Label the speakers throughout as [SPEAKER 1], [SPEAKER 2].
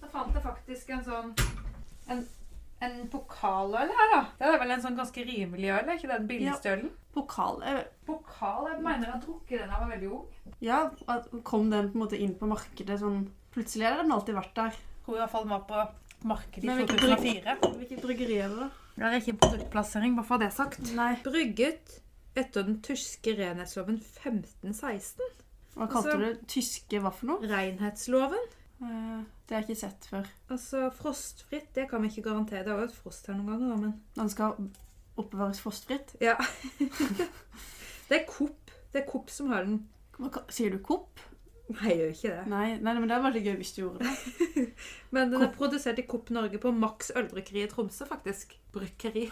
[SPEAKER 1] da fant jeg faktisk en sånn en, en pokaløl her, da.
[SPEAKER 2] Det er vel en sånn ganske rimelig øl, er ikke den billigstølen?
[SPEAKER 3] Pokal. eh,
[SPEAKER 1] Pokal? Jeg mener jeg har drukket den da jeg var veldig ung.
[SPEAKER 3] Ja, at- kom den på en måte inn på markedet sånn Plutselig har den alltid vært der.
[SPEAKER 2] Tror i hvert fall den var på markedet
[SPEAKER 3] Men
[SPEAKER 2] i
[SPEAKER 3] hvilken
[SPEAKER 2] 2004.
[SPEAKER 3] Hvilket bryggeri er det, da?
[SPEAKER 2] Det er ikke produktplassering, bare for det sagt.
[SPEAKER 3] Nei,
[SPEAKER 2] Brygget etter den tyske renhetsloven 1516.
[SPEAKER 3] Hva kalte
[SPEAKER 2] Altså-
[SPEAKER 3] du det? Tyske hva for noe?
[SPEAKER 2] Renhetsloven?
[SPEAKER 3] Eh, Det har jeg ikke sett før.
[SPEAKER 2] Altså frostfritt, det kan vi ikke garantere. Det har jo vært frost her noen ganger, da, men
[SPEAKER 3] Den skal oppbevares frostfritt.
[SPEAKER 2] Ja. det er Coop. Det er Coop som har den.
[SPEAKER 3] Hva ka- Sier du kopp?
[SPEAKER 2] Nei, jeg gjør ikke det.
[SPEAKER 3] Nei, nei, men det hadde vært litt gøy hvis du gjorde det.
[SPEAKER 2] Men den er produsert i Coop Norge på Max ølbryggeri i Tromsø, faktisk. Bryggeri.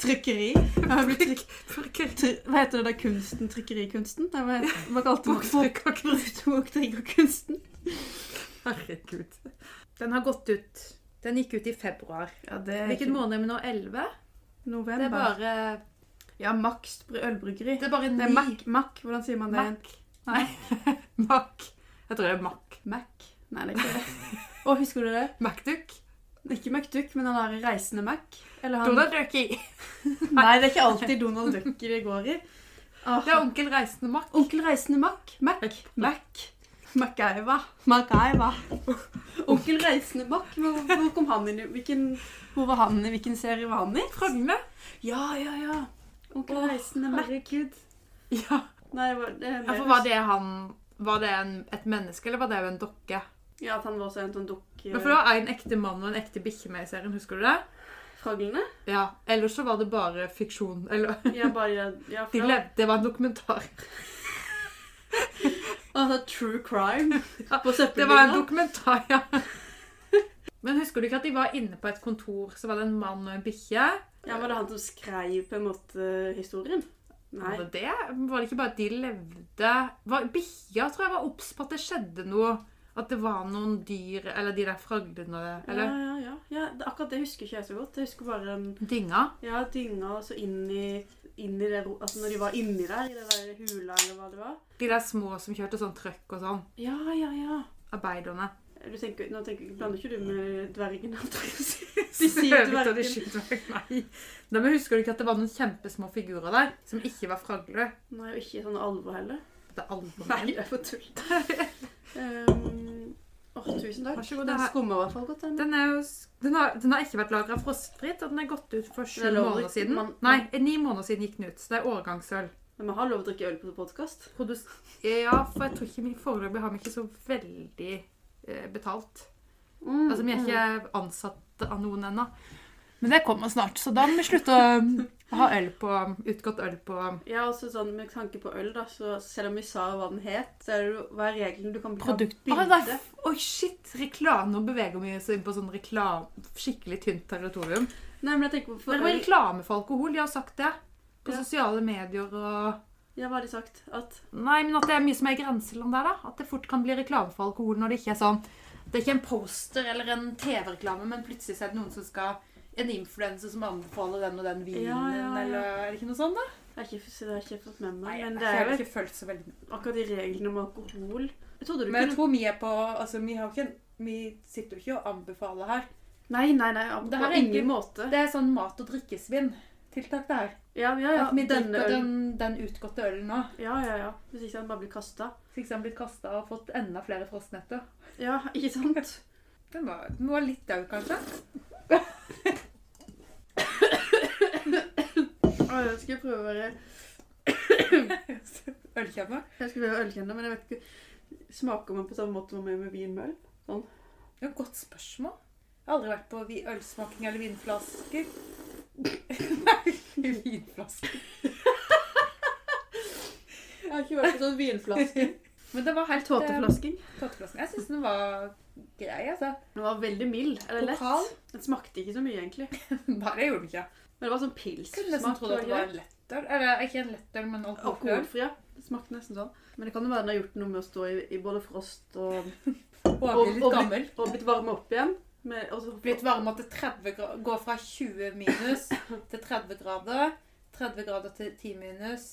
[SPEAKER 3] Trykkeri. Jeg har blitt trykk- try- Hva heter det der kunsten? Trykkerikunsten? Nei, hva, het- hva kalte man det? Boktrykkerkunsten.
[SPEAKER 2] Herregud. Den har gått ut. Den gikk ut i februar.
[SPEAKER 3] Ja, det er
[SPEAKER 2] Hvilken
[SPEAKER 3] ikke-
[SPEAKER 2] måned er vi nå? 11? Det
[SPEAKER 3] November.
[SPEAKER 2] er bare,
[SPEAKER 3] Ja, Max bry- ølbryggeri.
[SPEAKER 2] det er bare
[SPEAKER 3] Det
[SPEAKER 2] ni.
[SPEAKER 3] er Mac. Mac. Hvordan sier man det?
[SPEAKER 2] Mac. Mac. Jeg tror det er Mac.
[SPEAKER 3] Mac. Nei, det er ikke det. Å, husker du det?
[SPEAKER 2] Macduck.
[SPEAKER 3] Ikke McDuck, men han der reisende Mac. Eller han...
[SPEAKER 2] Donald Ducky.
[SPEAKER 3] Nei, det er ikke alltid Donald Duck det går i. Åh.
[SPEAKER 2] Det er onkel Reisende Mac.
[SPEAKER 3] Onkel reisende Mac. Mac. Mac. Macaiva. Macaiva. Onkel reisende Mac. Hvor, hvor kom han inn i hvilken, Hvor var han i hvilken serie var han i?
[SPEAKER 2] Fragne.
[SPEAKER 3] Ja, ja, ja. Onkel
[SPEAKER 2] Åh,
[SPEAKER 3] reisende Mac.
[SPEAKER 2] Herregud. Ja.
[SPEAKER 3] Nei, det var, det,
[SPEAKER 2] ja for var det han Var det en, et menneske, eller var det en dokke?
[SPEAKER 3] Ja, at han var også en sånn dukke...
[SPEAKER 2] Men For det var en ekte mann og en ekte bikkje med i serien, husker du det?
[SPEAKER 3] Fraglene?
[SPEAKER 2] Ja. Ellers så var det bare fiksjon. Eller
[SPEAKER 3] Ja, bare ja,
[SPEAKER 2] de
[SPEAKER 3] fra,
[SPEAKER 2] levde. Det var en dokumentar.
[SPEAKER 3] altså, True crime på
[SPEAKER 2] Det var en
[SPEAKER 3] søppelbilen.
[SPEAKER 2] dokumentar, ja. Men husker du ikke at de var inne på et kontor, så var det en mann og en bikkje?
[SPEAKER 3] Ja, Var det han som skrev på en måte historien? Nei.
[SPEAKER 2] Var det det? Var det ikke bare at de levde var, Bikkja tror jeg var obs på at det skjedde noe. At det var noen dyr, eller de der fraglene, eller
[SPEAKER 3] Ja, ja, ja. ja det, akkurat det husker ikke jeg så godt. Jeg husker bare um,
[SPEAKER 2] dynga.
[SPEAKER 3] ja, dynga og så inn i, inn i det ro- Altså når de var inni der, i det der hula eller hva det var.
[SPEAKER 2] De der små som kjørte sånn trøkk og sånn.
[SPEAKER 3] Ja, ja, ja.
[SPEAKER 2] Arbeiderne.
[SPEAKER 3] Du tenker, nå tenker, blander ikke du med dvergen? holdt jeg på å si.
[SPEAKER 2] De
[SPEAKER 3] sier
[SPEAKER 2] dvergen.
[SPEAKER 3] dvergen.
[SPEAKER 2] Nei. Nei, men husker du ikke at det var noen kjempesmå figurer der, som ikke var fragler?
[SPEAKER 3] Nei, og ikke sånn alvor heller.
[SPEAKER 2] Det er alvorlig.
[SPEAKER 3] Nei, det er for tull. um, åh, tusen takk.
[SPEAKER 2] Vær så god, det
[SPEAKER 3] Den
[SPEAKER 2] her-
[SPEAKER 3] skummer i hvert fall godt. Den.
[SPEAKER 2] Den, er jo, s- den, har, den har ikke vært lagra frostfritt, og den er gått ut for sju
[SPEAKER 3] Den er lov å
[SPEAKER 2] måneder
[SPEAKER 3] drikke-
[SPEAKER 2] siden.
[SPEAKER 3] man-
[SPEAKER 2] Nei, ni måneder siden gikk den ut, så det er årgangsøl.
[SPEAKER 3] Men vi har lov å drikke øl på podkast.
[SPEAKER 2] Produs ja, for jeg tror ikke vi foreløpig har vi ikke så veldig eh, betalt.
[SPEAKER 3] Mm,
[SPEAKER 2] Altså, vi er ikke ansatt av noen ennå. Men det kommer snart, så da må vi slutte å ha øl på, utgått øl på
[SPEAKER 3] Ja, også sånn Med tanke på øl, da, så selv om vi sa hva den het, så er det jo hva er regelen du kan bruke
[SPEAKER 2] Produkt... Å, nei,
[SPEAKER 3] bilde?
[SPEAKER 2] f- Oi, shit! Reklame. Nå beveger vi oss inn på sånn reklam... skikkelig tynt territorium.
[SPEAKER 3] Nei, men jeg tenker på
[SPEAKER 2] Men
[SPEAKER 3] for øl
[SPEAKER 2] reklame for alkohol, de har sagt det. På
[SPEAKER 3] Ja.
[SPEAKER 2] sosiale medier og
[SPEAKER 3] Ja, hva har de sagt? At
[SPEAKER 2] Nei, men at det er mye som er i grenseland der, da. At det fort kan bli reklame for alkohol når det ikke er sånn Det er ikke en poster eller en TV-reklame, men plutselig så er det noen som skal En influenser som anbefaler den og den vinen,
[SPEAKER 3] Ja, ja, ja.
[SPEAKER 2] eller Er det ikke noe sånt, da?
[SPEAKER 3] Jeg har ikke, så det har jeg ikke fått med meg.
[SPEAKER 2] Nei,
[SPEAKER 3] men
[SPEAKER 2] jeg
[SPEAKER 3] det er
[SPEAKER 2] har
[SPEAKER 3] jo
[SPEAKER 2] ikke følt så veldig
[SPEAKER 3] akkurat de reglene om alkohol Jeg trodde du
[SPEAKER 2] Men jeg
[SPEAKER 3] kunne
[SPEAKER 2] tror vi er på Altså, vi har ikke Vi sitter jo ikke og anbefaler her.
[SPEAKER 3] Nei, nei, nei.
[SPEAKER 2] Det
[SPEAKER 3] på
[SPEAKER 2] her er
[SPEAKER 3] ingen
[SPEAKER 2] ikke-
[SPEAKER 3] måte.
[SPEAKER 2] Det er sånn mat- og drikkesvinn-tiltak, det her.
[SPEAKER 3] Ja, ja, ja.
[SPEAKER 2] At vi
[SPEAKER 3] Denne
[SPEAKER 2] drikker
[SPEAKER 3] øl.
[SPEAKER 2] den, den utgåtte ølen nå.
[SPEAKER 3] Ja, ja, ja. Hvis ikke den bare blir kasta.
[SPEAKER 2] Så ikke den blitt kasta og fått enda flere frostnetter.
[SPEAKER 3] Ja, ikke sant?
[SPEAKER 2] Den var, den var litt daud, kanskje.
[SPEAKER 3] Å, jeg skulle prøve å være
[SPEAKER 2] Ølkjemmer.
[SPEAKER 3] Jeg skulle prøve å ølkjenne, men jeg vet ikke Smaker man på samme måte man gjør med vin med øl?
[SPEAKER 2] Det er et godt spørsmål. Jeg har aldri vært på vi- ølsmaking eller vinflasker. Nei, vinflasker.
[SPEAKER 3] Jeg har ikke vært på sånn vinflaske.
[SPEAKER 2] Men det var helt eh,
[SPEAKER 3] Tåteflasking.
[SPEAKER 2] tåteflasken. Jeg syns den var grei, altså.
[SPEAKER 3] Den var veldig mild. Eller lett.
[SPEAKER 2] Pokal?
[SPEAKER 3] Den smakte ikke så mye, egentlig.
[SPEAKER 2] Nei, det gjorde den ikke.
[SPEAKER 3] Men det var sånn
[SPEAKER 2] Kunne nesten
[SPEAKER 3] pilssmak.
[SPEAKER 2] trodd at det var en lettøl. Eller ikke en lettøl, men alkoholøl.
[SPEAKER 3] Alkoholfri, ja. Det smakte nesten sånn. Men det kan jo være den har gjort noe med å stå i, i både frost og,
[SPEAKER 2] Og jeg blir litt
[SPEAKER 3] blitt-
[SPEAKER 2] gammel.
[SPEAKER 3] og blitt varma opp igjen. Med, og så,
[SPEAKER 2] Blitt varma til 30 grader. Gå fra 20 minus til 30 grader. 30 grader til 10 minus.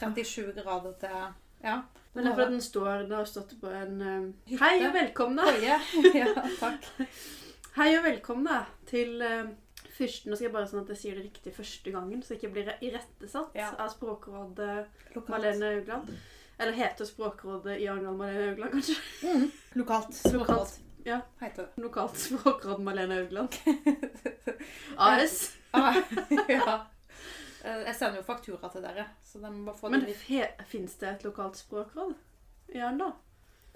[SPEAKER 2] 37 grader til Ja.
[SPEAKER 3] Men det er fordi den står Den har stått på en eh,
[SPEAKER 2] Hytte.
[SPEAKER 3] Hei og velkomne!
[SPEAKER 2] Høye. Ja, takk.
[SPEAKER 3] Hei og velkomne til eh, Fyrsten, nå skal jeg bare sånn at jeg sier det riktig første gangen, så jeg ikke blir irettesatt
[SPEAKER 2] Ja.
[SPEAKER 3] av Språkrådet
[SPEAKER 2] Lokalt.
[SPEAKER 3] Malene Haugland. Eller heter Språkrådet i Arendal Malene Haugland, kanskje?
[SPEAKER 2] Mm. Lokalt. Lokalt.
[SPEAKER 3] Ja.
[SPEAKER 2] Heter det.
[SPEAKER 3] Lokalt språkråd Malene Haugland. AS.
[SPEAKER 2] Ah, ja. Eh, Jeg sender jo faktura til dere, så de må bare få
[SPEAKER 3] Men
[SPEAKER 2] det litt
[SPEAKER 3] fins det et lokalt språkråd i Arendal?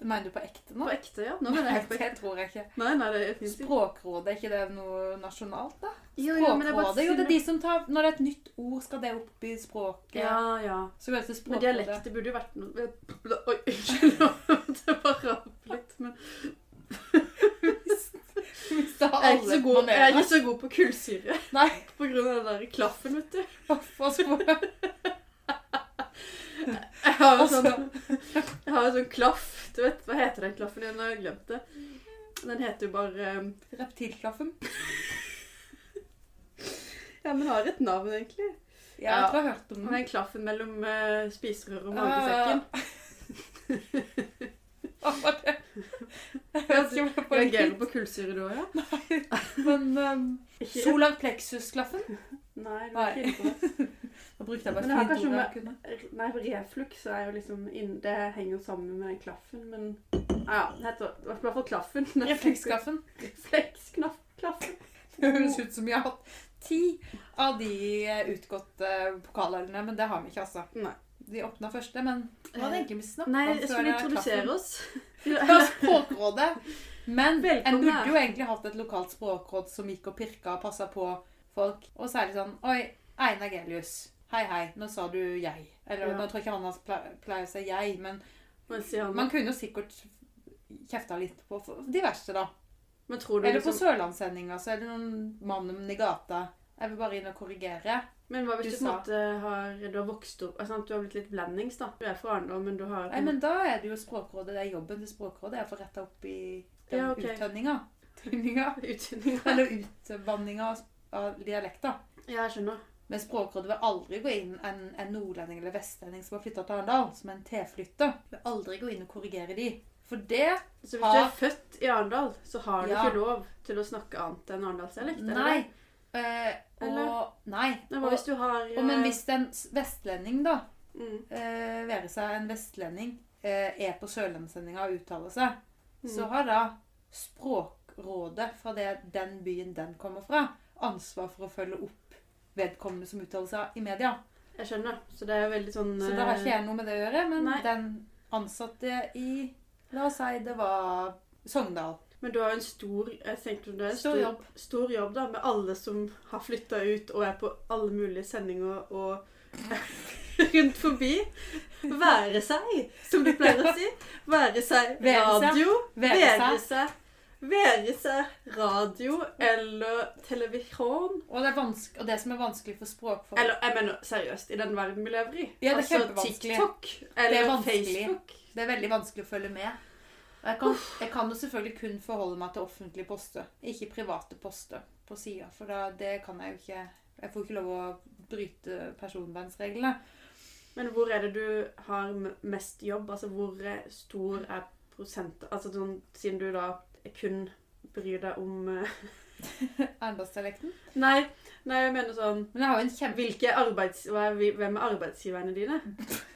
[SPEAKER 2] Mener du på ekte nå?
[SPEAKER 3] På ekte, ja. Nå mener jeg helt på ekte.
[SPEAKER 2] det tror jeg ikke.
[SPEAKER 3] Nei, nei, det fins ikke.
[SPEAKER 2] Språkrådet, er ikke det noe nasjonalt, da?
[SPEAKER 3] Jo, jo, men jeg bare
[SPEAKER 2] Språkrådet, jo, det er
[SPEAKER 3] sier-
[SPEAKER 2] de som tar Når det er et nytt ord, skal det opp i språket.
[SPEAKER 3] Ja, ja.
[SPEAKER 2] Så går det til
[SPEAKER 3] Men
[SPEAKER 2] Språkrådet.
[SPEAKER 3] dialekter burde jo vært noe Oi, unnskyld. Det bare rapp litt. Men
[SPEAKER 2] Hvis det har
[SPEAKER 3] jeg er ikke
[SPEAKER 2] alle
[SPEAKER 3] så god, jeg er
[SPEAKER 2] manerer.
[SPEAKER 3] ikke så god på kullsyre
[SPEAKER 2] Nei,
[SPEAKER 3] på grunn av den der klaffen, vet du.
[SPEAKER 2] for språk-
[SPEAKER 3] Jeg har jo
[SPEAKER 2] altså,
[SPEAKER 3] sånn, jeg har jo sånn klaff. Du vet, Hva heter den klaffen igjen? Nå har jeg glemt det. Den heter jo bare eh,
[SPEAKER 2] Reptilklaffen.
[SPEAKER 3] Ja, men har et navn, egentlig.
[SPEAKER 2] Ja, jeg
[SPEAKER 3] Ja.
[SPEAKER 2] tror jeg har hørt om
[SPEAKER 3] Og
[SPEAKER 2] den.
[SPEAKER 3] Den klaffen mellom uh,
[SPEAKER 2] Ah,
[SPEAKER 3] spiserøret og magesekken.
[SPEAKER 2] Hva var det? Jeg vet ikke om det var
[SPEAKER 3] Reagerer
[SPEAKER 2] riktig.
[SPEAKER 3] på kullsyre du òg, ja?
[SPEAKER 2] Men um,
[SPEAKER 3] Ikke-
[SPEAKER 2] solar plexus-klaffen
[SPEAKER 3] Nei, du
[SPEAKER 2] Nei.
[SPEAKER 3] er ikke inne på det.
[SPEAKER 2] Da brukte jeg
[SPEAKER 3] Men
[SPEAKER 2] bare
[SPEAKER 3] det har
[SPEAKER 2] fint
[SPEAKER 3] kanskje
[SPEAKER 2] ord jeg
[SPEAKER 3] med-
[SPEAKER 2] kunne.
[SPEAKER 3] R- Nei, for reflux er jo liksom inn, Det henger jo sammen med den klaffen, men Ja, ja, den heter i hvert fall klaffen.
[SPEAKER 2] Reflekskaffen.
[SPEAKER 3] Refleksknaff-klaffen.
[SPEAKER 2] Det høres ut som jeg har hatt ti av de eh, utgåtte pokalølene, men det har vi ikke, altså.
[SPEAKER 3] Nei.
[SPEAKER 2] De åpna første, men hva hadde egentlig vi snakket
[SPEAKER 3] Eh, Nei,
[SPEAKER 2] om
[SPEAKER 3] jeg
[SPEAKER 2] før
[SPEAKER 3] skulle
[SPEAKER 2] det
[SPEAKER 3] introdusere
[SPEAKER 2] klaffen?
[SPEAKER 3] oss. Ja,
[SPEAKER 2] Først Språkrådet. Men en
[SPEAKER 3] Velkommen.
[SPEAKER 2] burde jo egentlig hatt et lokalt språkråd som gikk og pirka og passa på folk. Og særlig sånn Oi, Einar Gelius. Hei, hei. Nå sa du jeg. Eller
[SPEAKER 3] Ja.
[SPEAKER 2] nå tror jeg ikke han hans ple- pleier å si jeg, men
[SPEAKER 3] men sier han-
[SPEAKER 2] man kunne jo sikkert kjefta litt på for- de verste, da.
[SPEAKER 3] Men tror du
[SPEAKER 2] Eller på
[SPEAKER 3] liksom
[SPEAKER 2] Sørlandssendinga så er det noen mannen i gata. Jeg vil bare inn og korrigere.
[SPEAKER 3] Men hva
[SPEAKER 2] du
[SPEAKER 3] hvis du på en måte har Du har vokst opp altså, Du har blitt litt blandings, da. Du er fra Arendal, men du har
[SPEAKER 2] Nei, men da er det jo Språkrådet. Det er jobben til Språkrådet er å få retta opp i den
[SPEAKER 3] Ja, ok.
[SPEAKER 2] uttønninga. Tønninga.
[SPEAKER 3] utvinninga.
[SPEAKER 2] Eller utvanninga av dialekter.
[SPEAKER 3] Ja, jeg skjønner.
[SPEAKER 2] Men Språkrådet vil aldri gå inn en, en nordlending eller vestlending som har flytta til Arendal, som er en tilflytter. Vil aldri gå inn og korrigere de. For det
[SPEAKER 3] Så hvis
[SPEAKER 2] Ha-
[SPEAKER 3] du er født i Arendal, så har du
[SPEAKER 2] Ja.
[SPEAKER 3] ikke lov til å snakke annet enn arendalsdialekt? eller?
[SPEAKER 2] Nei. Eh,
[SPEAKER 3] Eller?
[SPEAKER 2] og, nei.
[SPEAKER 3] Nei, hva
[SPEAKER 2] Og,
[SPEAKER 3] hvis du har
[SPEAKER 2] og, men
[SPEAKER 3] eh,
[SPEAKER 2] hvis en s- vestlending, da,
[SPEAKER 3] mm,
[SPEAKER 2] eh, være seg en vestlending eh, er på sørlandssendinga og uttaler seg, så
[SPEAKER 3] mm.
[SPEAKER 2] har da Språkrådet fra det, den byen den kommer fra, ansvar for å følge opp vedkommende som uttaler seg i media.
[SPEAKER 3] Jeg skjønner. Så det er jo veldig sånn
[SPEAKER 2] Så da har
[SPEAKER 3] eh,
[SPEAKER 2] ikke jeg noe med det å gjøre, men
[SPEAKER 3] Nei.
[SPEAKER 2] den ansatte i La oss si det var Sogndal.
[SPEAKER 3] eh, Men du har jo en stor jeg tenkte det er en
[SPEAKER 2] Stor jobb.
[SPEAKER 3] stor jobb da, med alle som har flytta ut og er på alle mulige sendinger og rundt forbi. Være seg, som du pleier å si. Være seg
[SPEAKER 2] Være seg.
[SPEAKER 3] radio. Være
[SPEAKER 2] VGC.
[SPEAKER 3] seg. Være seg radio eller televisjon.
[SPEAKER 2] Og det, er vanske- og det som er vanskelig for språkfolk
[SPEAKER 3] Eller jeg mener seriøst, i den verden vi lever i.
[SPEAKER 2] Ja, det er
[SPEAKER 3] altså
[SPEAKER 2] kjempevanskelig.
[SPEAKER 3] TikTok
[SPEAKER 2] Det er
[SPEAKER 3] eller
[SPEAKER 2] vanskelig.
[SPEAKER 3] Facebook.
[SPEAKER 2] Det er veldig vanskelig å følge med. Og Jeg kan, jeg kan jo selvfølgelig kun forholde meg til offentlige poster, ikke private poster på sida. For da, det kan jeg jo ikke Jeg får ikke lov å bryte personvernreglene.
[SPEAKER 3] Men hvor er det du har m- mest jobb? Altså hvor eh, stor er prosent... Altså sånn, siden du da kun bryr deg om eh,
[SPEAKER 2] Eiendomsdialekten.
[SPEAKER 3] Nei, nei, jeg mener sånn
[SPEAKER 2] Men jeg har jo en kjempe...
[SPEAKER 3] Hvilke arbeids... Hva er, vi- hvem er arbeidsgiverne dine?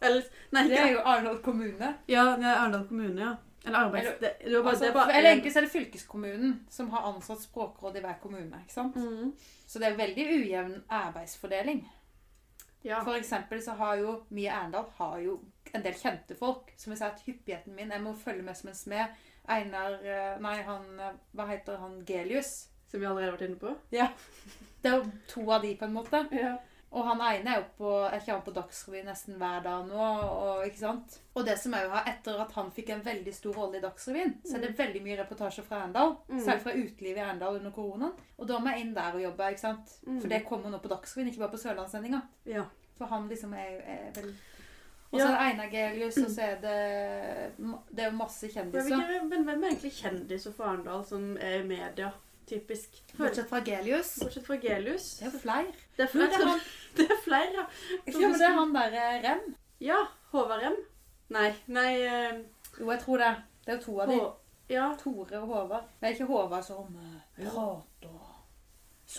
[SPEAKER 3] Eller Nei,
[SPEAKER 2] Det
[SPEAKER 3] ikke
[SPEAKER 2] er jo Arendal kommune.
[SPEAKER 3] Ja, det er Arendal kommune, ja. Eller arbeids...
[SPEAKER 2] Eller-
[SPEAKER 3] det, det var bare,
[SPEAKER 2] Altså,
[SPEAKER 3] det er bare
[SPEAKER 2] eller egentlig så er det fylkeskommunen som har ansatt språkråd i hver kommune. ikke sant?
[SPEAKER 3] mm.
[SPEAKER 2] Så det er veldig ujevn arbeidsfordeling.
[SPEAKER 3] Ja.
[SPEAKER 2] For eksempel så har jo vi i Arendal har jo en del kjente folk. Som vil si at hyppigheten min Jeg må følge med som en smed. Einar eh, Nei, han eh, Hva heter han? Gelius.
[SPEAKER 3] Som vi allerede har vært inne på.
[SPEAKER 2] Det er jo to av de, på en måte. Og han ene er jo på, er ikke han på Dagsrevyen nesten hver dag nå. Og, ikke sant? og det som er jo her, etter at han fikk en veldig stor rolle i Dagsrevyen, så er det veldig mye reportasjer fra Arendal.
[SPEAKER 3] Mm.
[SPEAKER 2] Særlig fra utelivet i Arendal under koronaen. Og da må jeg inn der og jobbe. ikke sant?
[SPEAKER 3] Mm.
[SPEAKER 2] For det kommer nå på Dagsrevyen, ikke bare på Sørlandssendinga.
[SPEAKER 3] Ja.
[SPEAKER 2] For han liksom er jo er vel Og så
[SPEAKER 3] Ja.
[SPEAKER 2] er det Einar Gelius, og så er det ma- Det er jo masse
[SPEAKER 3] Jeg vet
[SPEAKER 2] kjendiser.
[SPEAKER 3] ikke, men hvem er egentlig kjendiser fra Arendal som er i media? Typisk. Føler-
[SPEAKER 2] Bortsett fra Gelius.
[SPEAKER 3] Bortsett fra Gelius.
[SPEAKER 2] Det er jo flere.
[SPEAKER 3] Det er
[SPEAKER 2] Men det er
[SPEAKER 3] flere.
[SPEAKER 2] han,
[SPEAKER 3] Det er flere. ja.
[SPEAKER 2] ja, men det er han derre Rem.
[SPEAKER 3] Ja. HVRM. Nei. Nei eh,
[SPEAKER 2] Jo, jeg tror det. Det er jo to av de.
[SPEAKER 3] H... Ja.
[SPEAKER 2] Tore og Håvard. Nei, ikke Håvard som eh, prater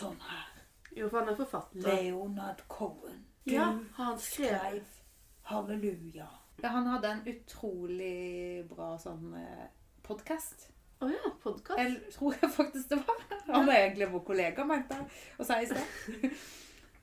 [SPEAKER 2] sånn her.
[SPEAKER 3] Jo, for han er forfatter.
[SPEAKER 2] Leonard Cohen.
[SPEAKER 3] Ja, har han skrevet
[SPEAKER 2] skrev halleluja. Ja, han hadde en utrolig bra sånn podkast.
[SPEAKER 3] Å ja, podkast?
[SPEAKER 2] Jeg tror jeg faktisk det var. Han er egentlig vår kollega, mente jeg å si i sted.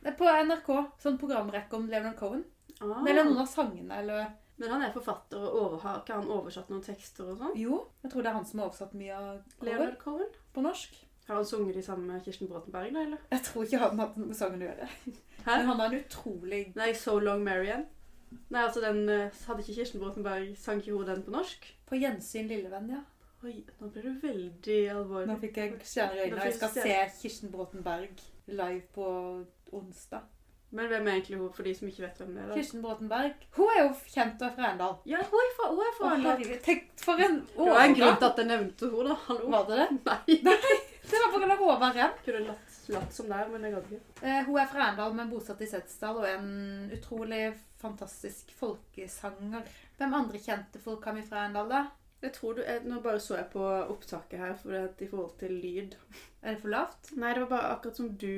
[SPEAKER 2] Det er På NRK. Sånn programrekke om Leonard Cohen.
[SPEAKER 3] Ah.
[SPEAKER 2] Eller noen av sangene, eller
[SPEAKER 3] Men han er forfatter, og over, har ikke han oversatt noen tekster og sånn?
[SPEAKER 2] Jo, jeg tror det er han som har oversatt mye av Cohen
[SPEAKER 3] Leonard Cohen?
[SPEAKER 2] på norsk.
[SPEAKER 3] Har han sunget de sammen med Kirsten Bråtenberg, da, eller?
[SPEAKER 2] Jeg tror ikke han hadde noe med sangen å gjøre.
[SPEAKER 3] Hæ?
[SPEAKER 2] Men han har en utrolig
[SPEAKER 3] Nei, So Long Marian. Nei, altså den eh, Hadde ikke Kirsten Bråtenberg sang ikke hun den på norsk?
[SPEAKER 2] På gjensyn, lille venn, ja.
[SPEAKER 3] Oi, nå ble du veldig alvorlig.
[SPEAKER 2] Nå fikk jeg stjerner i
[SPEAKER 3] Nå
[SPEAKER 2] øynene.
[SPEAKER 3] fikk
[SPEAKER 2] Jeg skal
[SPEAKER 3] du
[SPEAKER 2] se Kirsten Bråten Berg live på onsdag.
[SPEAKER 3] Men hvem er egentlig hun, for de som ikke vet hvem det er? da?
[SPEAKER 2] Kirsten Bråten Berg hun er jo kjent og er fra Arendal.
[SPEAKER 3] Ja, hun er fra, hun er
[SPEAKER 2] Å,
[SPEAKER 3] fra Arendal.
[SPEAKER 2] herregud, Tenk for en
[SPEAKER 3] Det var en grunn
[SPEAKER 2] overgang.
[SPEAKER 3] til at jeg nevnte henne, da. Hallo.
[SPEAKER 2] Var det det?
[SPEAKER 3] Nei.
[SPEAKER 2] Det var pga. Håvard Rem.
[SPEAKER 3] Kunne latt, latt som der, men jeg gadd ikke.
[SPEAKER 2] Eh, Hun er fra Arendal, men bosatt i Setesdal, og er en utrolig fantastisk folkesanger. Hvem andre kjente folk har vi fra Arendal, da?
[SPEAKER 3] Jeg tror du, jeg, Nå bare så jeg på opptaket her for at i forhold til lyd.
[SPEAKER 2] Er det for lavt?
[SPEAKER 3] Nei, det var bare akkurat som du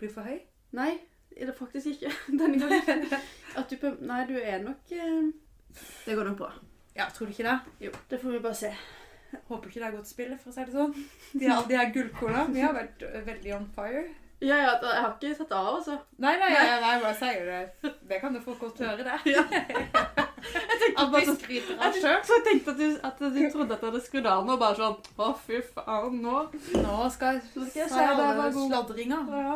[SPEAKER 2] Blir for høy?
[SPEAKER 3] Nei, det er faktisk ikke. Denne gangen. At du, på- nei, du er nok eh, Det går nok bra.
[SPEAKER 2] Ja, tror du ikke det?
[SPEAKER 3] Jo, det får vi bare se.
[SPEAKER 2] Håper ikke det er godt spill, for å si det sånn. De her, de her gullkorna. Vi har vært eh, veldig on fire.
[SPEAKER 3] Ja, ja, jeg har ikke tatt av, altså.
[SPEAKER 2] Nei, nei, nei, nei, bare sier det. Det kan jo folk godt høre, det.
[SPEAKER 3] Ja.
[SPEAKER 2] At man skryter av sjøl.
[SPEAKER 3] Så jeg tenkte at du, at du trodde at jeg hadde skrudd av nå, bare sånn Å, fy faen, nå.
[SPEAKER 2] Nå skal
[SPEAKER 3] Nå skal
[SPEAKER 2] jeg
[SPEAKER 3] jeg
[SPEAKER 2] si
[SPEAKER 3] si at
[SPEAKER 2] alle
[SPEAKER 3] jeg var god.
[SPEAKER 2] sladringa.
[SPEAKER 3] Ja.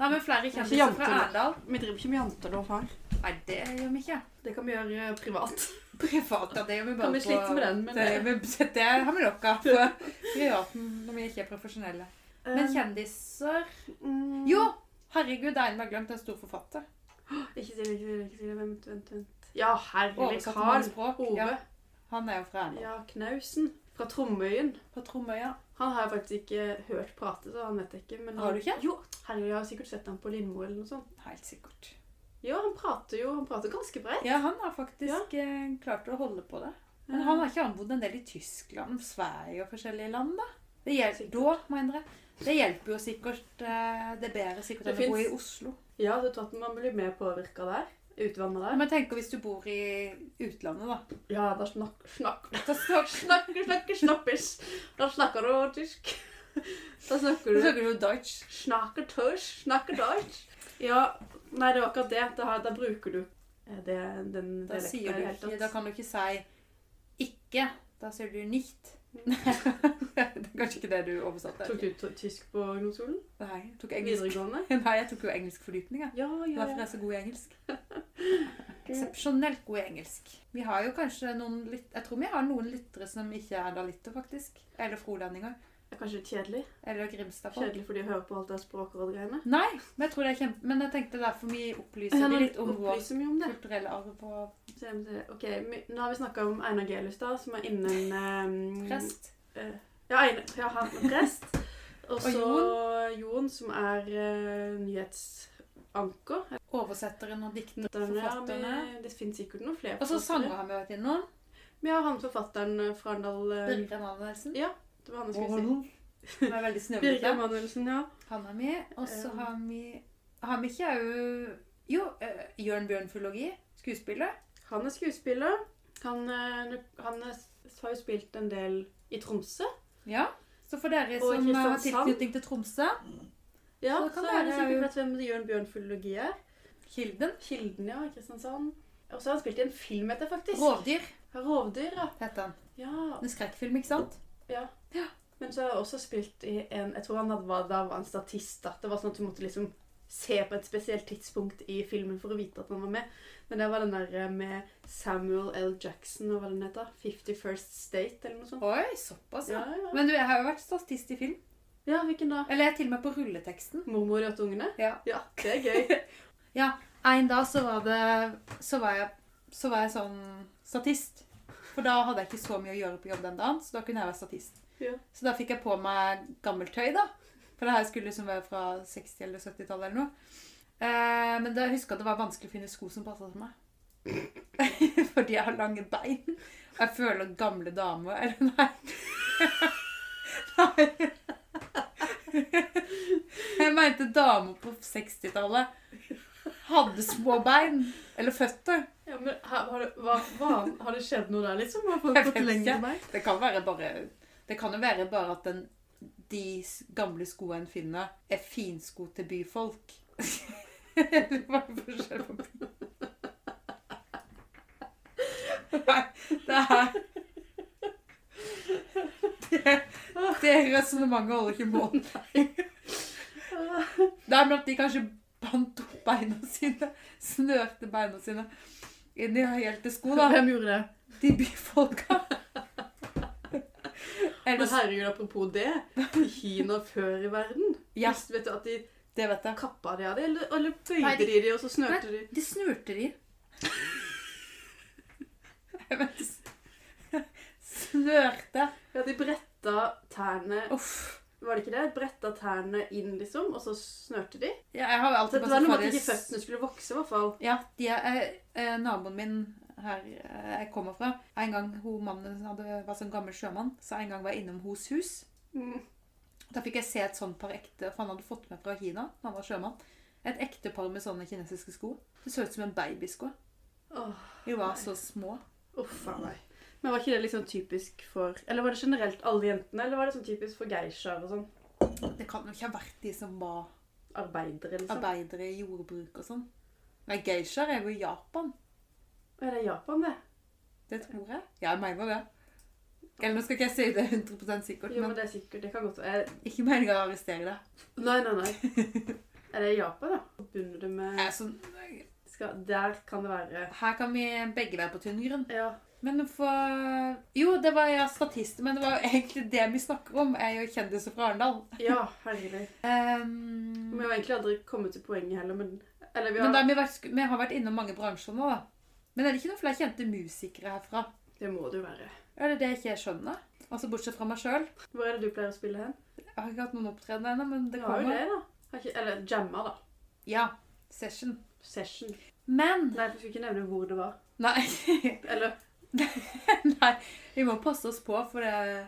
[SPEAKER 2] Nei, men flere
[SPEAKER 3] er ikke
[SPEAKER 2] kjendiser fra
[SPEAKER 3] jante, da.
[SPEAKER 2] Arendal.
[SPEAKER 3] Vi driver ikke med jantelov her.
[SPEAKER 2] Nei, det gjør vi ikke.
[SPEAKER 3] Det kan vi gjøre eh, privat.
[SPEAKER 2] Privat, ja, det gjør vi bare
[SPEAKER 3] Kan vi slite med den, men
[SPEAKER 2] det,
[SPEAKER 3] det-
[SPEAKER 2] det, det har vi nok av. på Privaten, når vi ikke er profesjonelle. Men
[SPEAKER 3] Eh,
[SPEAKER 2] kjendiser
[SPEAKER 3] mm,
[SPEAKER 2] Jo! Herregud, det er en vi har glemt. En stor forfatter.
[SPEAKER 3] Ikke si det, ikke si det. ikke si det. Vent, vent, vent. Ja, herlig.
[SPEAKER 2] Oversatt til mange
[SPEAKER 3] Karl
[SPEAKER 2] språk. Ja,
[SPEAKER 3] Ove.
[SPEAKER 2] han er jo fra Arendal.
[SPEAKER 3] Ja, Knausen. Fra Tromøyen.
[SPEAKER 2] På Tromøya.
[SPEAKER 3] Han har jeg faktisk ikke hørt prate, så han vet jeg ikke. Men han,
[SPEAKER 2] Har du ikke?
[SPEAKER 3] Jo, herregud, jeg har sikkert sett han på Lindmo eller noe sånt.
[SPEAKER 2] Helt sikkert.
[SPEAKER 3] Ja, han prater jo han prater ganske bredt.
[SPEAKER 2] Ja, han har faktisk eh, klart å holde på det. Men han har ikke anbodd en del i Tyskland, Sverige og forskjellige land, da. Det hjelper, da, mener jeg. Det hjelper jo sikkert eh, Det er bedre sikkert
[SPEAKER 3] Det
[SPEAKER 2] enn å bo i
[SPEAKER 3] finnes-
[SPEAKER 2] Oslo.
[SPEAKER 3] Ja, du tror at man blir mer påvirka der? Utvanna der?
[SPEAKER 2] Men tenk hvis du bor i utlandet, da.
[SPEAKER 3] Ja, da snakk, snakk,
[SPEAKER 2] Da snakker,
[SPEAKER 3] snakker, snakker, snappis. Da snakker du tysk. Da snakker
[SPEAKER 2] da
[SPEAKER 3] du
[SPEAKER 2] snakker du Deutsch.
[SPEAKER 3] snakker tysk, snakker deutsch. Ja, nei, det var akkurat det. Da, har- da bruker du eh, det, den
[SPEAKER 2] Da, sier du ikke, da kan du ikke si ikke. Da sier du nicht. det er kanskje ikke det du oversatte.
[SPEAKER 3] Tok du t- tysk på ungdomsskolen?
[SPEAKER 2] Nei, jeg tok engelsk.
[SPEAKER 3] Videregående?
[SPEAKER 2] Nei, jeg tok jo engelsk fordypning, jeg.
[SPEAKER 3] Ja,
[SPEAKER 2] Det er
[SPEAKER 3] ja,
[SPEAKER 2] Derfor jeg
[SPEAKER 3] ja.
[SPEAKER 2] er så god i engelsk. Eksepsjonelt god i engelsk. Vi har jo kanskje noen lyt Jeg tror vi har noen lyttere som ikke er dalitter, faktisk. Eller frolendinger.
[SPEAKER 3] Det er kanskje litt kjedelig?
[SPEAKER 2] Eller Grimstadfolk.
[SPEAKER 3] Kjedelig fordi jeg hører på alt det språkrådgreiene.
[SPEAKER 2] Nei, men jeg tror det er kjempe... Men jeg tenkte derfor vi opplyser
[SPEAKER 3] Ja,
[SPEAKER 2] de
[SPEAKER 3] nå
[SPEAKER 2] litt om vår
[SPEAKER 3] opplyser vi om det.
[SPEAKER 2] kulturelle arv og
[SPEAKER 3] Så jeg må si, Ok, vi- Nå har vi snakka om Einar Gelius, da, som er innen eh,
[SPEAKER 2] prest.
[SPEAKER 3] Ja, Einar, ja han er prest. Og
[SPEAKER 2] Og
[SPEAKER 3] så Jon, som er eh, nyhetsanker.
[SPEAKER 2] Oversetteren og dikteren,
[SPEAKER 3] Den er
[SPEAKER 2] forfatterne.
[SPEAKER 3] med- Det fins sikkert noen flere.
[SPEAKER 2] Og så
[SPEAKER 3] forfattere.
[SPEAKER 2] sanger har vi vært innom.
[SPEAKER 3] Vi har han forfatteren fra Arendal. eh,
[SPEAKER 2] Birger Emanuelsen.
[SPEAKER 3] Det var han jeg skulle si.
[SPEAKER 2] Som er veldig
[SPEAKER 3] Birger
[SPEAKER 2] snøvlete.
[SPEAKER 3] Emanuelsen, ja.
[SPEAKER 2] Han er med. Og så
[SPEAKER 3] Um.
[SPEAKER 2] har vi Har vi ikke òg Jo, eh, Jørn Bjørn Fulogi. Skuespiller.
[SPEAKER 3] Han er skuespiller. Han, eh, han er, har jo spilt en del i Tromsø.
[SPEAKER 2] Ja, så for dere
[SPEAKER 3] Og
[SPEAKER 2] som har
[SPEAKER 3] Kristiansand.
[SPEAKER 2] tilknytning til Tromsø,
[SPEAKER 3] Ja,
[SPEAKER 2] Så det
[SPEAKER 3] så,
[SPEAKER 2] kan
[SPEAKER 3] er det
[SPEAKER 2] være-
[SPEAKER 3] sikkert vet hvem Jørn Bjørn Fulogi er.
[SPEAKER 2] Kilden,
[SPEAKER 3] Kilden, ja. i Kristiansand. Og så har han spilt i en film etter, faktisk.
[SPEAKER 2] Rovdyr
[SPEAKER 3] Rovdyr, ja.
[SPEAKER 2] heter han.
[SPEAKER 3] ja.
[SPEAKER 2] En skrekkfilm, ikke sant?
[SPEAKER 3] Men så har jeg også spilt i en Jeg tror han hadde, var, da var en statist. Da. Det var sånn at du måtte liksom se på et spesielt tidspunkt i filmen for å vite at man var med. Men det var den der eh, med Samuel L. Jackson og hva den heter. 50 First State eller noe sånt.
[SPEAKER 2] Oi, såpass, ja.
[SPEAKER 3] Ja, ja.
[SPEAKER 2] Men du, jeg har jo vært statist i film.
[SPEAKER 3] ja hvilken da?
[SPEAKER 2] Eller jeg er til og med på rulleteksten.
[SPEAKER 3] Mormor og ungene?
[SPEAKER 2] Ja.
[SPEAKER 3] Ja, det er gøy.
[SPEAKER 2] Ja, en dag så var det Så var jeg, så var jeg sånn statist. For da hadde jeg ikke så mye å gjøre på jobb den dagen, så da kunne jeg være statist.
[SPEAKER 3] Ja.
[SPEAKER 2] Så da fikk jeg på meg gammelt tøy, da. For det her skulle liksom være fra 60- eller 70-tallet eller noe. Eh, men da huska jeg at det var vanskelig å finne sko som passa til meg. Fordi jeg har lange bein. Og jeg føler gamle dame Eller nei. nei. Jeg mente damer på 60-tallet hadde små bein. Eller føtter.
[SPEAKER 3] Ja, men her, har, det, hva, hva, har det skjedd noe der, liksom? Har folk
[SPEAKER 2] Jeg
[SPEAKER 3] fått
[SPEAKER 2] vet
[SPEAKER 3] lengre
[SPEAKER 2] ikke.
[SPEAKER 3] bein?
[SPEAKER 2] Det kan være bare Det kan jo være bare at den, de s- gamle skoene en finner, er finsko til byfolk. Eller hva er forskjellen på Nei, det er Det, det resonnementet holder ikke mål.
[SPEAKER 3] Ah.
[SPEAKER 2] Det er med at de kanskje bandt opp beina sine, snørte beina sine inn i høyhælte sko, da.
[SPEAKER 3] Hvem gjorde det?
[SPEAKER 2] De byfolka. Eller,
[SPEAKER 3] Men herregud, apropos det. I Kina før i verden
[SPEAKER 2] ja,
[SPEAKER 3] Visst, Vet du at de
[SPEAKER 2] det vet jeg.
[SPEAKER 3] kappa de av det, eller, eller
[SPEAKER 2] Nei,
[SPEAKER 3] bøyde
[SPEAKER 2] de-
[SPEAKER 3] de de, og så snørte de?
[SPEAKER 2] De snurte de. Jeg vet ikke. Snørte.
[SPEAKER 3] Ja, de bretta tærne
[SPEAKER 2] Uff.
[SPEAKER 3] Var det ikke det? Bretta tærne inn, liksom, og så snørte de?
[SPEAKER 2] Ja, jeg har jo
[SPEAKER 3] Så
[SPEAKER 2] alltid
[SPEAKER 3] det var noe med
[SPEAKER 2] for
[SPEAKER 3] at ikke
[SPEAKER 2] det-
[SPEAKER 3] føttene skulle vokse, i hvert fall.
[SPEAKER 2] Ja, de er, eh, eh, naboen min her eh, jeg kommer fra, en gang hun mannen hadde, var sånn gammel sjømann, så en gang var jeg innom hos hus.
[SPEAKER 3] Mm.
[SPEAKER 2] Da fikk jeg se et sånt par ekte, for han hadde fått med fra Kina, han var sjømann. Et ekte par med sånne kinesiske sko. Det så ut som en babysko.
[SPEAKER 3] Åh,
[SPEAKER 2] De var
[SPEAKER 3] Nei.
[SPEAKER 2] så små.
[SPEAKER 3] uff a meg. Men var ikke det liksom typisk for Eller var det generelt alle jentene, eller var det sånn typisk for geishaer og sånn?
[SPEAKER 2] Det kan jo ikke ha vært de som var
[SPEAKER 3] Arbeidere, liksom?
[SPEAKER 2] arbeidere i jordbruk og sånn. Nei, geishaer er jo i Japan.
[SPEAKER 3] Å, er det Japan, det?
[SPEAKER 2] Det tror jeg. Ja, jeg mener det. Eller nå skal ikke jeg si det 100 sikkert,
[SPEAKER 3] Jo, men
[SPEAKER 2] men
[SPEAKER 3] det er sikkert Det kan godt være.
[SPEAKER 2] ikke meningen å arrestere deg.
[SPEAKER 3] Nei, nei, nei. Er det Japan, da? Forbunder det med
[SPEAKER 2] Jeg er sånn,
[SPEAKER 3] skal, Der kan det være
[SPEAKER 2] her kan vi begge være på tynn grunn.
[SPEAKER 3] Ja.
[SPEAKER 2] Men for Jo, det var ja, statist, men det var jo egentlig det vi snakker om, er jo kjendiser fra Arendal.
[SPEAKER 3] Ja, herregud.
[SPEAKER 2] Ehm,
[SPEAKER 3] Vi har egentlig aldri kommet til poenget heller, men Eller vi har
[SPEAKER 2] men da, har vi, vært, sk- vi har vært innom mange bransjer nå, da. Men er det ikke noen flere kjente musikere herfra?
[SPEAKER 3] Det må det jo være.
[SPEAKER 2] Er det det jeg ikke skjønner? Altså bortsett fra meg sjøl.
[SPEAKER 3] Hvor er det du pleier å spille hen?
[SPEAKER 2] Jeg har ikke hatt noen opptreden ennå, men det
[SPEAKER 3] Vi har jo
[SPEAKER 2] kommer.
[SPEAKER 3] det, da. Har ikke, eller jamma, da.
[SPEAKER 2] Ja. Session.
[SPEAKER 3] Session.
[SPEAKER 2] Men
[SPEAKER 3] Nei, vi skulle ikke nevne hvor det var.
[SPEAKER 2] Nei.
[SPEAKER 3] Eller
[SPEAKER 2] Nei. Vi må passe oss på for det,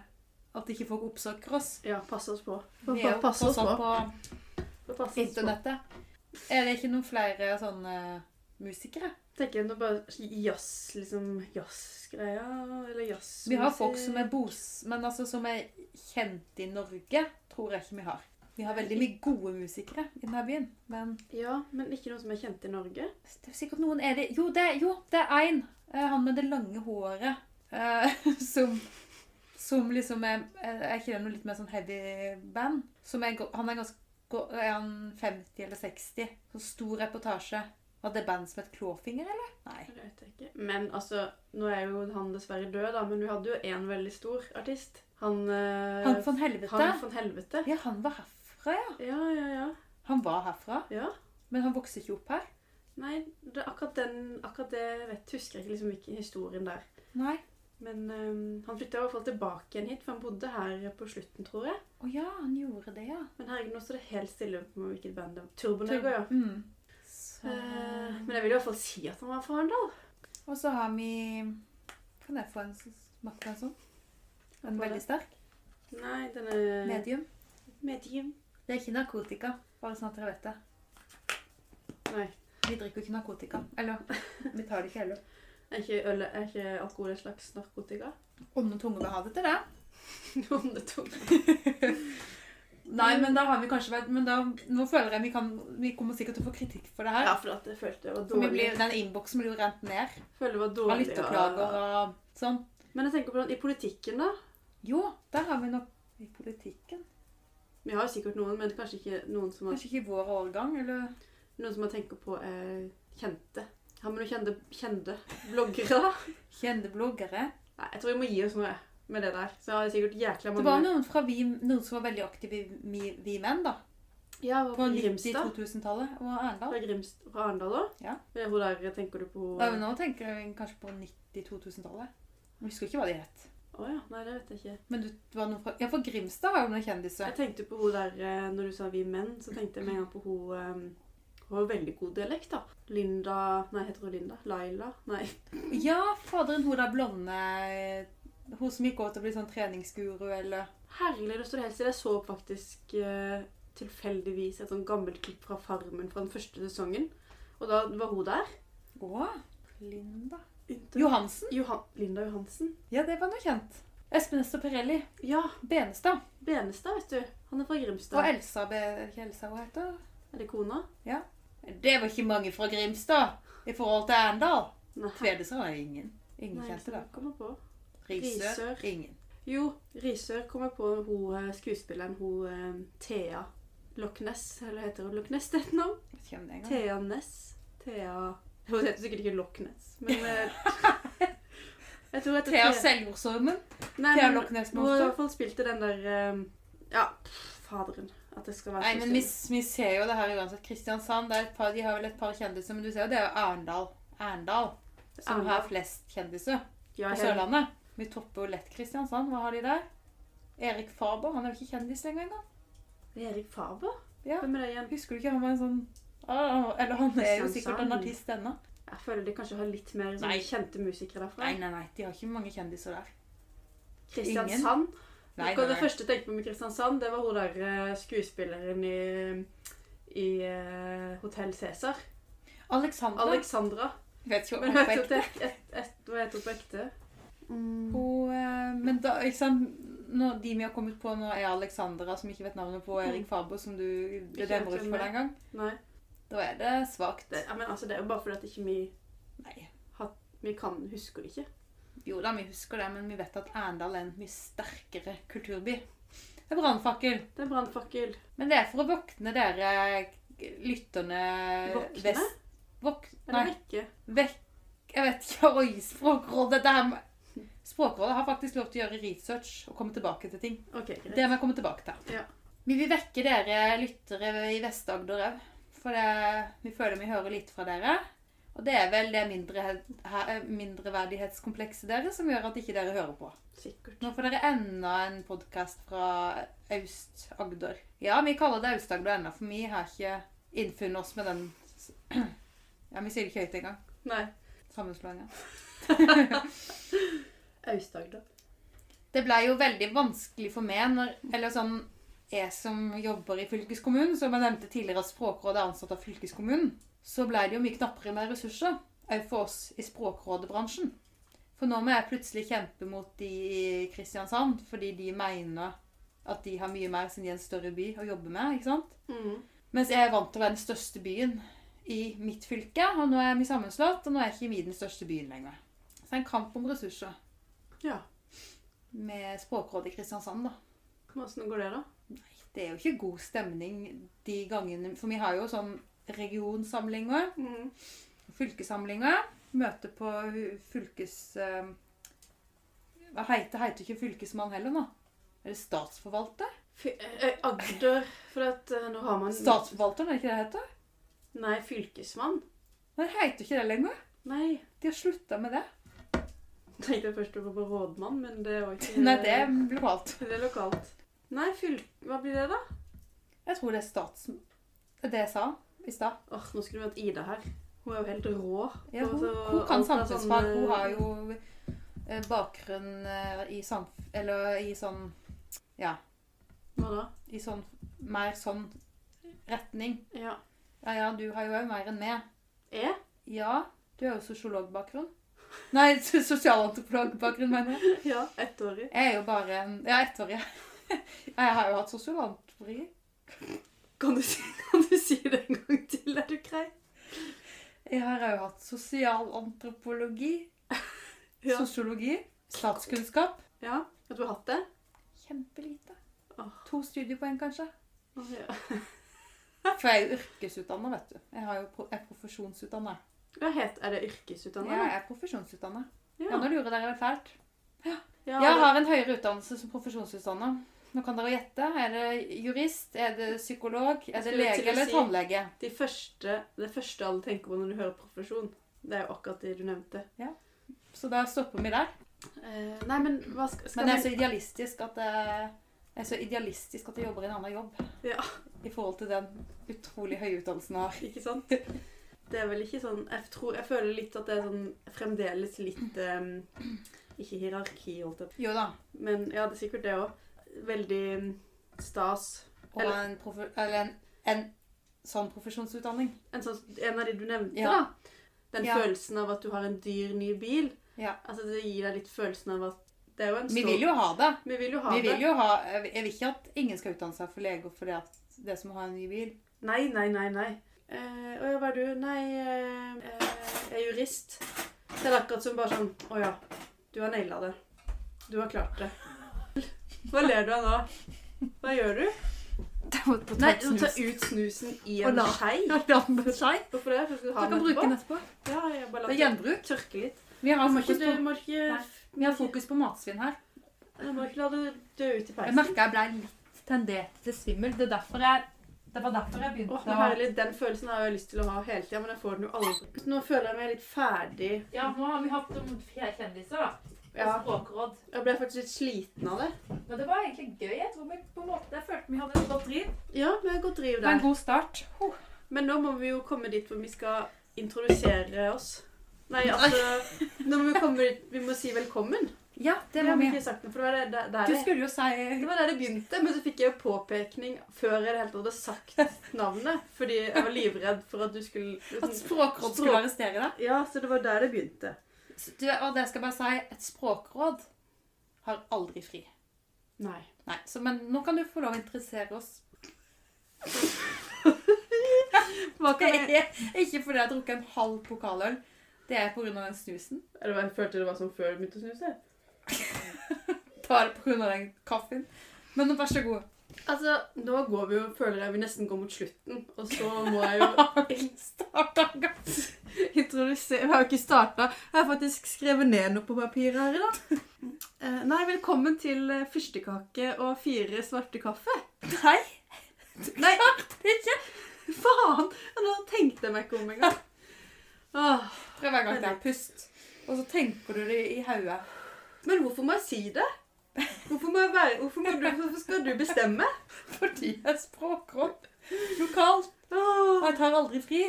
[SPEAKER 2] at ikke folk oppsøker oss.
[SPEAKER 3] Ja, pass oss på.
[SPEAKER 2] Vi er jo fortsatt på
[SPEAKER 3] Vi passer oss på.
[SPEAKER 2] internettet. Er det ikke noen flere sånne musikere?
[SPEAKER 3] Tenker jeg nå bare jazz, liksom jazzgreia, eller jazz
[SPEAKER 2] Vi har folk som er bos, men altså som er kjent i Norge, tror jeg ikke vi har. Vi har veldig mye gode musikere i denne byen, men
[SPEAKER 3] Ja, men ikke noen som er kjent i Norge.
[SPEAKER 2] det er sikkert noen er det Jo, det, jo, det er én. Han med det lange håret eh, som som liksom er Er ikke det noe litt mer sånn heavy band? Som er, go- han er ganske go- Er han 50 eller 60? Så stor reportasje. Var det band som het Klåfinger, eller? Nei.
[SPEAKER 3] Det vet jeg ikke. Men altså, nå er jo han dessverre død, da, men vi hadde jo én veldig stor artist. Han eh,
[SPEAKER 2] Han von Helvete?
[SPEAKER 3] Han von Helvete.
[SPEAKER 2] Ja, han var herfra, ja.
[SPEAKER 3] Ja, ja, ja.
[SPEAKER 2] Han var herfra,
[SPEAKER 3] ja.
[SPEAKER 2] men han vokste ikke opp her.
[SPEAKER 3] Nei, det, er akkurat, den, akkurat det jeg vet, husker jeg ikke liksom ikke historien der.
[SPEAKER 2] Nei.
[SPEAKER 3] Men eh, han flytta i hvert fall tilbake igjen hit, for han bodde her på slutten, tror jeg.
[SPEAKER 2] Å ja, han gjorde det, ja.
[SPEAKER 3] Men herregud, nå står det helt stille på hvilket band det var. Turbonego, ja.
[SPEAKER 2] Mm. Så...
[SPEAKER 3] Eh, men jeg vil i hvert fall si at han var fra Arendal.
[SPEAKER 2] Og så har vi Kan jeg få en som smaker en sånn? En
[SPEAKER 3] Få det.
[SPEAKER 2] veldig sterk?
[SPEAKER 3] Nei, den er
[SPEAKER 2] Medium.
[SPEAKER 3] Medium.
[SPEAKER 2] Eh, Det er ikke narkotika, bare sånn at dere vet det.
[SPEAKER 3] Nei.
[SPEAKER 2] Vi drikker jo ikke narkotika. Eller vi tar det ikke heller.
[SPEAKER 3] Er ikke, øl, er ikke alkohol en slags narkotika?
[SPEAKER 2] Onde tunge vil ha det til det.
[SPEAKER 3] Om det tok
[SPEAKER 2] Nei, men da har vi kanskje vært Men da, nå føler jeg vi kan Vi kommer sikkert til å få kritikk for det her.
[SPEAKER 3] Ja, for at jeg følte det var
[SPEAKER 2] For vi
[SPEAKER 3] dårlig.
[SPEAKER 2] blir, den innboksen blir jo rent ned
[SPEAKER 3] føler det var
[SPEAKER 2] av
[SPEAKER 3] dårlig.
[SPEAKER 2] lytterklager
[SPEAKER 3] ja.
[SPEAKER 2] og sånn.
[SPEAKER 3] Men jeg tenker på den i politikken, da.
[SPEAKER 2] Jo, der har vi nok I politikken
[SPEAKER 3] Vi har jo sikkert noen, men kanskje ikke noen som har,
[SPEAKER 2] Kanskje ikke i vår årgang, eller
[SPEAKER 3] noen som har tenker på eh, kjente. Har vi noen kjente, kjente bloggere? da?
[SPEAKER 2] kjente bloggere.
[SPEAKER 3] Nei, jeg tror vi må gi oss noe med det der. Så har jeg sikkert jækla
[SPEAKER 2] Det
[SPEAKER 3] mange
[SPEAKER 2] var noen, fra vi, noen som var veldig aktive i Vi, vi Menn, da.
[SPEAKER 3] Ja,
[SPEAKER 2] På
[SPEAKER 3] på
[SPEAKER 2] litt i
[SPEAKER 3] Grimstad.
[SPEAKER 2] 2000-tallet. Og Arendal.
[SPEAKER 3] Fra Grimst, fra Arendal òg?
[SPEAKER 2] Ja.
[SPEAKER 3] Hun der eh, tenker du på
[SPEAKER 2] Ja, men nå tenker jeg kanskje på 90-2000-tallet. Jeg husker ikke hva de het.
[SPEAKER 3] Å ja, nei, det vet jeg ikke.
[SPEAKER 2] Men du, det var noen fra Ja, for Grimstad har jo noen kjendiser.
[SPEAKER 3] Jeg tenkte på hun der eh, Når du sa vi menn, så tenkte jeg med en gang på hun eh, Hun har veldig god dialekt, da. Linda Nei, heter hun Linda? Laila? Nei.
[SPEAKER 2] Ja, faderen, hun der blonde Hun som gikk over til å bli sånn treningsguru, eller
[SPEAKER 3] Herlig det står helt stille. Jeg så faktisk eh, tilfeldigvis et sånn gammelt klipp fra Farmen fra den første sesongen. Og da var hun der.
[SPEAKER 2] Å, Linda
[SPEAKER 3] Inter
[SPEAKER 2] Johansen.
[SPEAKER 3] Johan Linda Johansen.
[SPEAKER 2] Ja, det var noe kjent. Espen Ester Pirelli.
[SPEAKER 3] Ja.
[SPEAKER 2] Benestad.
[SPEAKER 3] Benestad, vet du. Han er fra
[SPEAKER 2] Og
[SPEAKER 3] Grimstad.
[SPEAKER 2] Elsa Be... Ikke Elsa, hva heter hun?
[SPEAKER 3] Er det kona?
[SPEAKER 2] Det var ikke mange fra Grimstad i forhold til Arendal.
[SPEAKER 3] Nei.
[SPEAKER 2] Tvedestad er ingen. Ingen
[SPEAKER 3] Nei,
[SPEAKER 2] kjente, da.
[SPEAKER 3] jeg kommer på. Risør.
[SPEAKER 2] Risør. Ingen.
[SPEAKER 3] Jo, Risør kom jeg på hun eh, skuespilleren, hun eh, Thea Loch Ness, eller heter hun Loch Ness det nå?
[SPEAKER 2] Jeg vet ikke om det engang.
[SPEAKER 3] Thea Ness. Thea Hun heter sikkert ikke Loch Ness, men eh, Jeg tror hun heter
[SPEAKER 2] Thea Seljordsormen.
[SPEAKER 3] Nei,
[SPEAKER 2] Thea
[SPEAKER 3] men
[SPEAKER 2] Loch Ness
[SPEAKER 3] Hun har i
[SPEAKER 2] Monster.
[SPEAKER 3] hvert fall spilte den der eh, Ja, pff, faderen. At det skal være
[SPEAKER 2] Nei,
[SPEAKER 3] så
[SPEAKER 2] men vi, vi ser jo det her uansett. Kristiansand, det er et par, de har vel et par kjendiser, men du ser jo det er jo Arendal. Arendal som
[SPEAKER 3] Arendal.
[SPEAKER 2] har flest kjendiser
[SPEAKER 3] stille. ja,
[SPEAKER 2] på
[SPEAKER 3] hele-
[SPEAKER 2] Sørlandet. Vi topper jo lett Kristiansand. Hva har de der? Erik Faber, han er jo ikke kjendis lenger engang.
[SPEAKER 3] Erik Faber?
[SPEAKER 2] Ja.
[SPEAKER 3] Hvem er det igjen?
[SPEAKER 2] Husker du ikke han var en sånn Åh, Eller han er jo
[SPEAKER 3] Kristiansand.
[SPEAKER 2] sikkert en artist ennå.
[SPEAKER 3] Jeg føler de kanskje har litt mer sånn,
[SPEAKER 2] Nei.
[SPEAKER 3] kjente musikere derfra.
[SPEAKER 2] Nei, nei, nei. De har ikke mange kjendiser der.
[SPEAKER 3] Kristiansand.
[SPEAKER 2] Nei,
[SPEAKER 3] Hva
[SPEAKER 2] nei,
[SPEAKER 3] det
[SPEAKER 2] nei.
[SPEAKER 3] første jeg tenkte på med Kristiansand, det var hun der eh, skuespilleren i, i eh, Hotel Cæsar.
[SPEAKER 2] Alexandra.
[SPEAKER 3] Alexandra.
[SPEAKER 2] Vet ikke hva
[SPEAKER 3] Men
[SPEAKER 2] hun
[SPEAKER 3] jeg vet
[SPEAKER 2] fikk.
[SPEAKER 3] at det er et- et- hva heter hun på ekte?
[SPEAKER 2] Hun, eh, Men da, ikke sant Nå- De vi har kommet på nå, er Alexandra, som ikke vet navnet på, og Erik Faber, som du
[SPEAKER 3] Mm. Ikke
[SPEAKER 2] det demrer
[SPEAKER 3] vet hvem
[SPEAKER 2] ikke for
[SPEAKER 3] det er.
[SPEAKER 2] deg engang.
[SPEAKER 3] Nei.
[SPEAKER 2] Da er det svakt.
[SPEAKER 3] Det, ja, men altså, det er jo bare fordi at ikke vi,
[SPEAKER 2] Nei.
[SPEAKER 3] vi kan huske det ikke.
[SPEAKER 2] Jo da, vi husker det, men vi vet at Arendal er en mye sterkere kulturby. Det er brannfakkel.
[SPEAKER 3] Det er brannfakkel.
[SPEAKER 2] Men det er for å våkne dere lytterne
[SPEAKER 3] Våkne?
[SPEAKER 2] vest- Våk... Nei,
[SPEAKER 3] Eller vekke.
[SPEAKER 2] vekk Jeg vet ikke. Oi, Språkrådet det her med- Språkrådet har faktisk lov til å gjøre research og komme tilbake til ting.
[SPEAKER 3] OK, greit.
[SPEAKER 2] Det må jeg komme tilbake til.
[SPEAKER 3] Ja.
[SPEAKER 2] Vi vil vekke dere lyttere i Vest-Agder òg. For det, vi føler vi hører lite fra dere. Og det er vel det mindre, he- eh, mindreverdighetskomplekset deres som gjør at ikke dere hører på.
[SPEAKER 3] Sikkert.
[SPEAKER 2] Nå får dere enda en podkast fra Aust-Agder. Ja, vi kaller det Aust-Agder ennå, for vi har ikke innfunnet oss med den s- Ja, vi sier det ikke høyt engang.
[SPEAKER 3] Nei.
[SPEAKER 2] Sammenslåinga.
[SPEAKER 3] Aust-Agder.
[SPEAKER 2] Det ble jo veldig vanskelig for meg når Eller sånn Jeg som jobber i fylkeskommunen, som jeg nevnte tidligere at Språkrådet er ansatt av fylkeskommunen, så ble det jo mye knappere med ressurser. Òg for oss i Språkrådebransjen. For nå må jeg plutselig kjempe mot de i Kristiansand, fordi de mener at de har mye mer siden de er en større by å jobbe med. ikke sant?
[SPEAKER 3] Mm.
[SPEAKER 2] Mens jeg er vant til å være den største byen i mitt fylke, og nå er vi sammenslått, og nå er ikke vi den største byen lenger. Så det er en kamp om ressurser
[SPEAKER 3] Ja.
[SPEAKER 2] med Språkrådet i Kristiansand, da.
[SPEAKER 3] Men Åssen går det, da?
[SPEAKER 2] Det er jo ikke god stemning de gangene For vi har jo sånn regionsamlinger,
[SPEAKER 3] Mm.
[SPEAKER 2] fylkessamlinger. Møte på hu- fylkes... eh, Hva heter, heter ikke fylkesmann heller nå? Er det statsforvalter?
[SPEAKER 3] Fy, eh, Agder For at eh, nå har man
[SPEAKER 2] Statsforvalteren, er det ikke det det heter?
[SPEAKER 3] Nei, fylkesmann.
[SPEAKER 2] Nei, det heter ikke det lenger.
[SPEAKER 3] Nei.
[SPEAKER 2] De har slutta med det.
[SPEAKER 3] Tenkte jeg først det var på rådmann, men det var ikke
[SPEAKER 2] Nei, det er lokalt.
[SPEAKER 3] Det er lokalt. Nei, fylk... Hva blir det, da?
[SPEAKER 2] Jeg tror det er stats... Det er det jeg sa i stad.
[SPEAKER 3] Åh, Nå skulle vi hatt Ida her. Hun er jo helt rå.
[SPEAKER 2] Ja, hun,
[SPEAKER 3] Altså,
[SPEAKER 2] hun kan
[SPEAKER 3] alt er
[SPEAKER 2] samfunnsfag.
[SPEAKER 3] sånn, eh,
[SPEAKER 2] Hun har jo eh, bakgrunn eh, i samf... Eller i sånn Ja.
[SPEAKER 3] eh, Hva da?
[SPEAKER 2] i sånn, mer sånn retning.
[SPEAKER 3] Ja.
[SPEAKER 2] Ja, ja, du har jo òg mer enn meg.
[SPEAKER 3] E?
[SPEAKER 2] Ja, du har jo sosiologbakgrunn. Nei, s- sosialantropologbakgrunn, mener jeg.
[SPEAKER 3] Ja. Ettårig.
[SPEAKER 2] Jeg er jo bare en Ja, ettårig. Ja, jeg har jo hatt sosialantropologi.
[SPEAKER 3] Kan du, si, kan du si det en gang til? Er du grei?
[SPEAKER 2] Jeg har òg hatt sosialantropologi.
[SPEAKER 3] Ja.
[SPEAKER 2] Sosiologi. Statskunnskap.
[SPEAKER 3] Ja. At du har hatt det?
[SPEAKER 2] Kjempelite.
[SPEAKER 3] Åh.
[SPEAKER 2] to studiepoeng, kanskje.
[SPEAKER 3] Å, ja.
[SPEAKER 2] For jeg er jo yrkesutdanna, vet du. Jeg, har jo, pro- jeg er profesjonsutdanna.
[SPEAKER 3] Hva het, er det
[SPEAKER 2] Ja,
[SPEAKER 3] yrkesutdannet?
[SPEAKER 2] jeg er profesjonsutdanna.
[SPEAKER 3] Ja.
[SPEAKER 2] Ja, nå lurer dere vel fælt.
[SPEAKER 3] Ja,
[SPEAKER 2] Jeg
[SPEAKER 3] det-
[SPEAKER 2] har en høyere utdannelse som profesjonsutdanna. Nå kan dere gjette. Er det jurist? Er det psykolog? Er det
[SPEAKER 3] skulle
[SPEAKER 2] lege
[SPEAKER 3] til å
[SPEAKER 2] eller
[SPEAKER 3] si-
[SPEAKER 2] tannlege?
[SPEAKER 3] de første, det første alle tenker på når du hører profesjon, det er jo akkurat det du nevnte.
[SPEAKER 2] Så da stopper vi der.
[SPEAKER 3] Eh, nei, men hva skal, skal
[SPEAKER 2] Men jeg er
[SPEAKER 3] vi-
[SPEAKER 2] så idealistisk at jeg, jeg er så idealistisk at jeg jobber i en annen jobb.
[SPEAKER 3] Ja.
[SPEAKER 2] I forhold til den utrolig høye utdannelsen jeg har.
[SPEAKER 3] Ikke sant? Det er vel ikke sånn Jeg, tror, jeg føler litt at det er sånn fremdeles litt eh, Ikke hierarki, holdt jeg på
[SPEAKER 2] Jo da.
[SPEAKER 3] Men ja, det er sikkert det òg. Veldig mm, stas.
[SPEAKER 2] Og
[SPEAKER 3] Eller-
[SPEAKER 2] en, profe, eller en, en sånn profesjonsutdanning.
[SPEAKER 3] En, sånn, en av de du nevnte,
[SPEAKER 2] Ja.
[SPEAKER 3] da. Den
[SPEAKER 2] Ja.
[SPEAKER 3] følelsen av at du har en dyr, ny bil.
[SPEAKER 2] Ja.
[SPEAKER 3] Altså, Det gir deg litt følelsen av at Det er jo en
[SPEAKER 2] Vi vil jo ha det.
[SPEAKER 3] Vi vil jo ha
[SPEAKER 2] Vi
[SPEAKER 3] det.
[SPEAKER 2] vil jo ha, jeg vil ikke at ingen skal utdanne seg for lege fordi at det som har en ny bil.
[SPEAKER 3] Nei, nei, nei, nei. Eh, å ja, hva er du? Nei, eh, eh, jeg er jurist. Det er akkurat som bare sånn Å ja, du har naila det. Du har klart det. Hva ler du av nå? Hva gjør du? Nei, du tar ut snusen i
[SPEAKER 2] Og
[SPEAKER 3] en
[SPEAKER 2] la-
[SPEAKER 3] skei.
[SPEAKER 2] Du
[SPEAKER 3] Hvorfor det? For skal du ha
[SPEAKER 2] kan
[SPEAKER 3] den
[SPEAKER 2] bruke
[SPEAKER 3] etterpå?
[SPEAKER 2] den etterpå.
[SPEAKER 3] Ja, jeg bare
[SPEAKER 2] Det er
[SPEAKER 3] lar det
[SPEAKER 2] gjenbruk.
[SPEAKER 3] tørke litt.
[SPEAKER 2] Vi har
[SPEAKER 3] Må ikke
[SPEAKER 2] fokus
[SPEAKER 3] du
[SPEAKER 2] på,
[SPEAKER 3] må ikke,
[SPEAKER 2] Nei. vi har fokus på matsvinn her.
[SPEAKER 3] du må ikke la det dø ut i
[SPEAKER 2] Jeg
[SPEAKER 3] peisen.
[SPEAKER 2] merka jeg ble litt tendert til svimmel. Det, er derfor jeg, det var derfor jeg
[SPEAKER 3] Åh,
[SPEAKER 2] begynte
[SPEAKER 3] men herlig, Den følelsen har jeg lyst til å ha hele tida, men jeg får den jo aldri. Nå føler jeg meg litt ferdig.
[SPEAKER 4] Ja, nå har vi hatt om fire kjendiser, da.
[SPEAKER 3] Ja,
[SPEAKER 4] Og Språkråd.
[SPEAKER 3] jeg ble faktisk litt sliten av det.
[SPEAKER 4] Men det var egentlig gøy. Jeg tror vi på en måte jeg følte vi hadde et godt driv.
[SPEAKER 3] Ja, vi har godt driv
[SPEAKER 2] Det var en
[SPEAKER 3] der.
[SPEAKER 2] god start. Huh.
[SPEAKER 3] Men nå må vi jo komme dit hvor vi skal introdusere oss. Nei, altså Nå må vi komme dit Vi må si velkommen.
[SPEAKER 2] Ja, det
[SPEAKER 3] Det
[SPEAKER 2] må
[SPEAKER 3] har vi
[SPEAKER 2] vi.
[SPEAKER 3] ikke sagt noe, for det var der, der, der
[SPEAKER 2] Du
[SPEAKER 3] jeg-
[SPEAKER 2] skulle jo si
[SPEAKER 3] Det var der det begynte, men så fikk jeg jo påpekning før jeg i det hele tatt hadde sagt navnet. Fordi jeg var livredd for at du skulle liksom-
[SPEAKER 2] at Språkråd skulle arrestere deg.
[SPEAKER 3] Ja, så det var der det begynte.
[SPEAKER 2] Så Du, og det skal jeg bare si, et språkråd har aldri fri.
[SPEAKER 3] Nei.
[SPEAKER 2] Nei, så, men nå kan du få lov å interessere oss.
[SPEAKER 3] Hva
[SPEAKER 2] Det
[SPEAKER 3] kan jeg
[SPEAKER 2] er ikke fordi jeg har drukket en halv pokaløl. Det er pga. den snusen.
[SPEAKER 3] Eller jeg følte det var som før du begynte å snuse.
[SPEAKER 2] Da er det pga. den kaffen. Men vær så god.
[SPEAKER 3] Altså, nå går vi jo, føler jeg vi nesten går mot slutten, og så må jeg jo
[SPEAKER 2] Start en gang.
[SPEAKER 3] introdusere Vi har jo ikke starta. Jeg har faktisk skrevet ned noe på papiret her i dag. Eh, Nei, velkommen til eh, fyrstekake og fire svarte kaffe.
[SPEAKER 2] Nei,
[SPEAKER 3] Nei,
[SPEAKER 2] det er ikke.
[SPEAKER 3] faen! Nå tenkte jeg meg ikke om engang. Åh.
[SPEAKER 2] Prøv en gang til. Pust. Og så tenker du det i hodet.
[SPEAKER 3] Men hvorfor må jeg si det? Hvorfor, må jeg være, hvorfor, må du, hvorfor skal du bestemme?
[SPEAKER 2] Fordi jeg er språkråd. Lokalt. Og
[SPEAKER 3] Åh,
[SPEAKER 2] jeg tar aldri fri.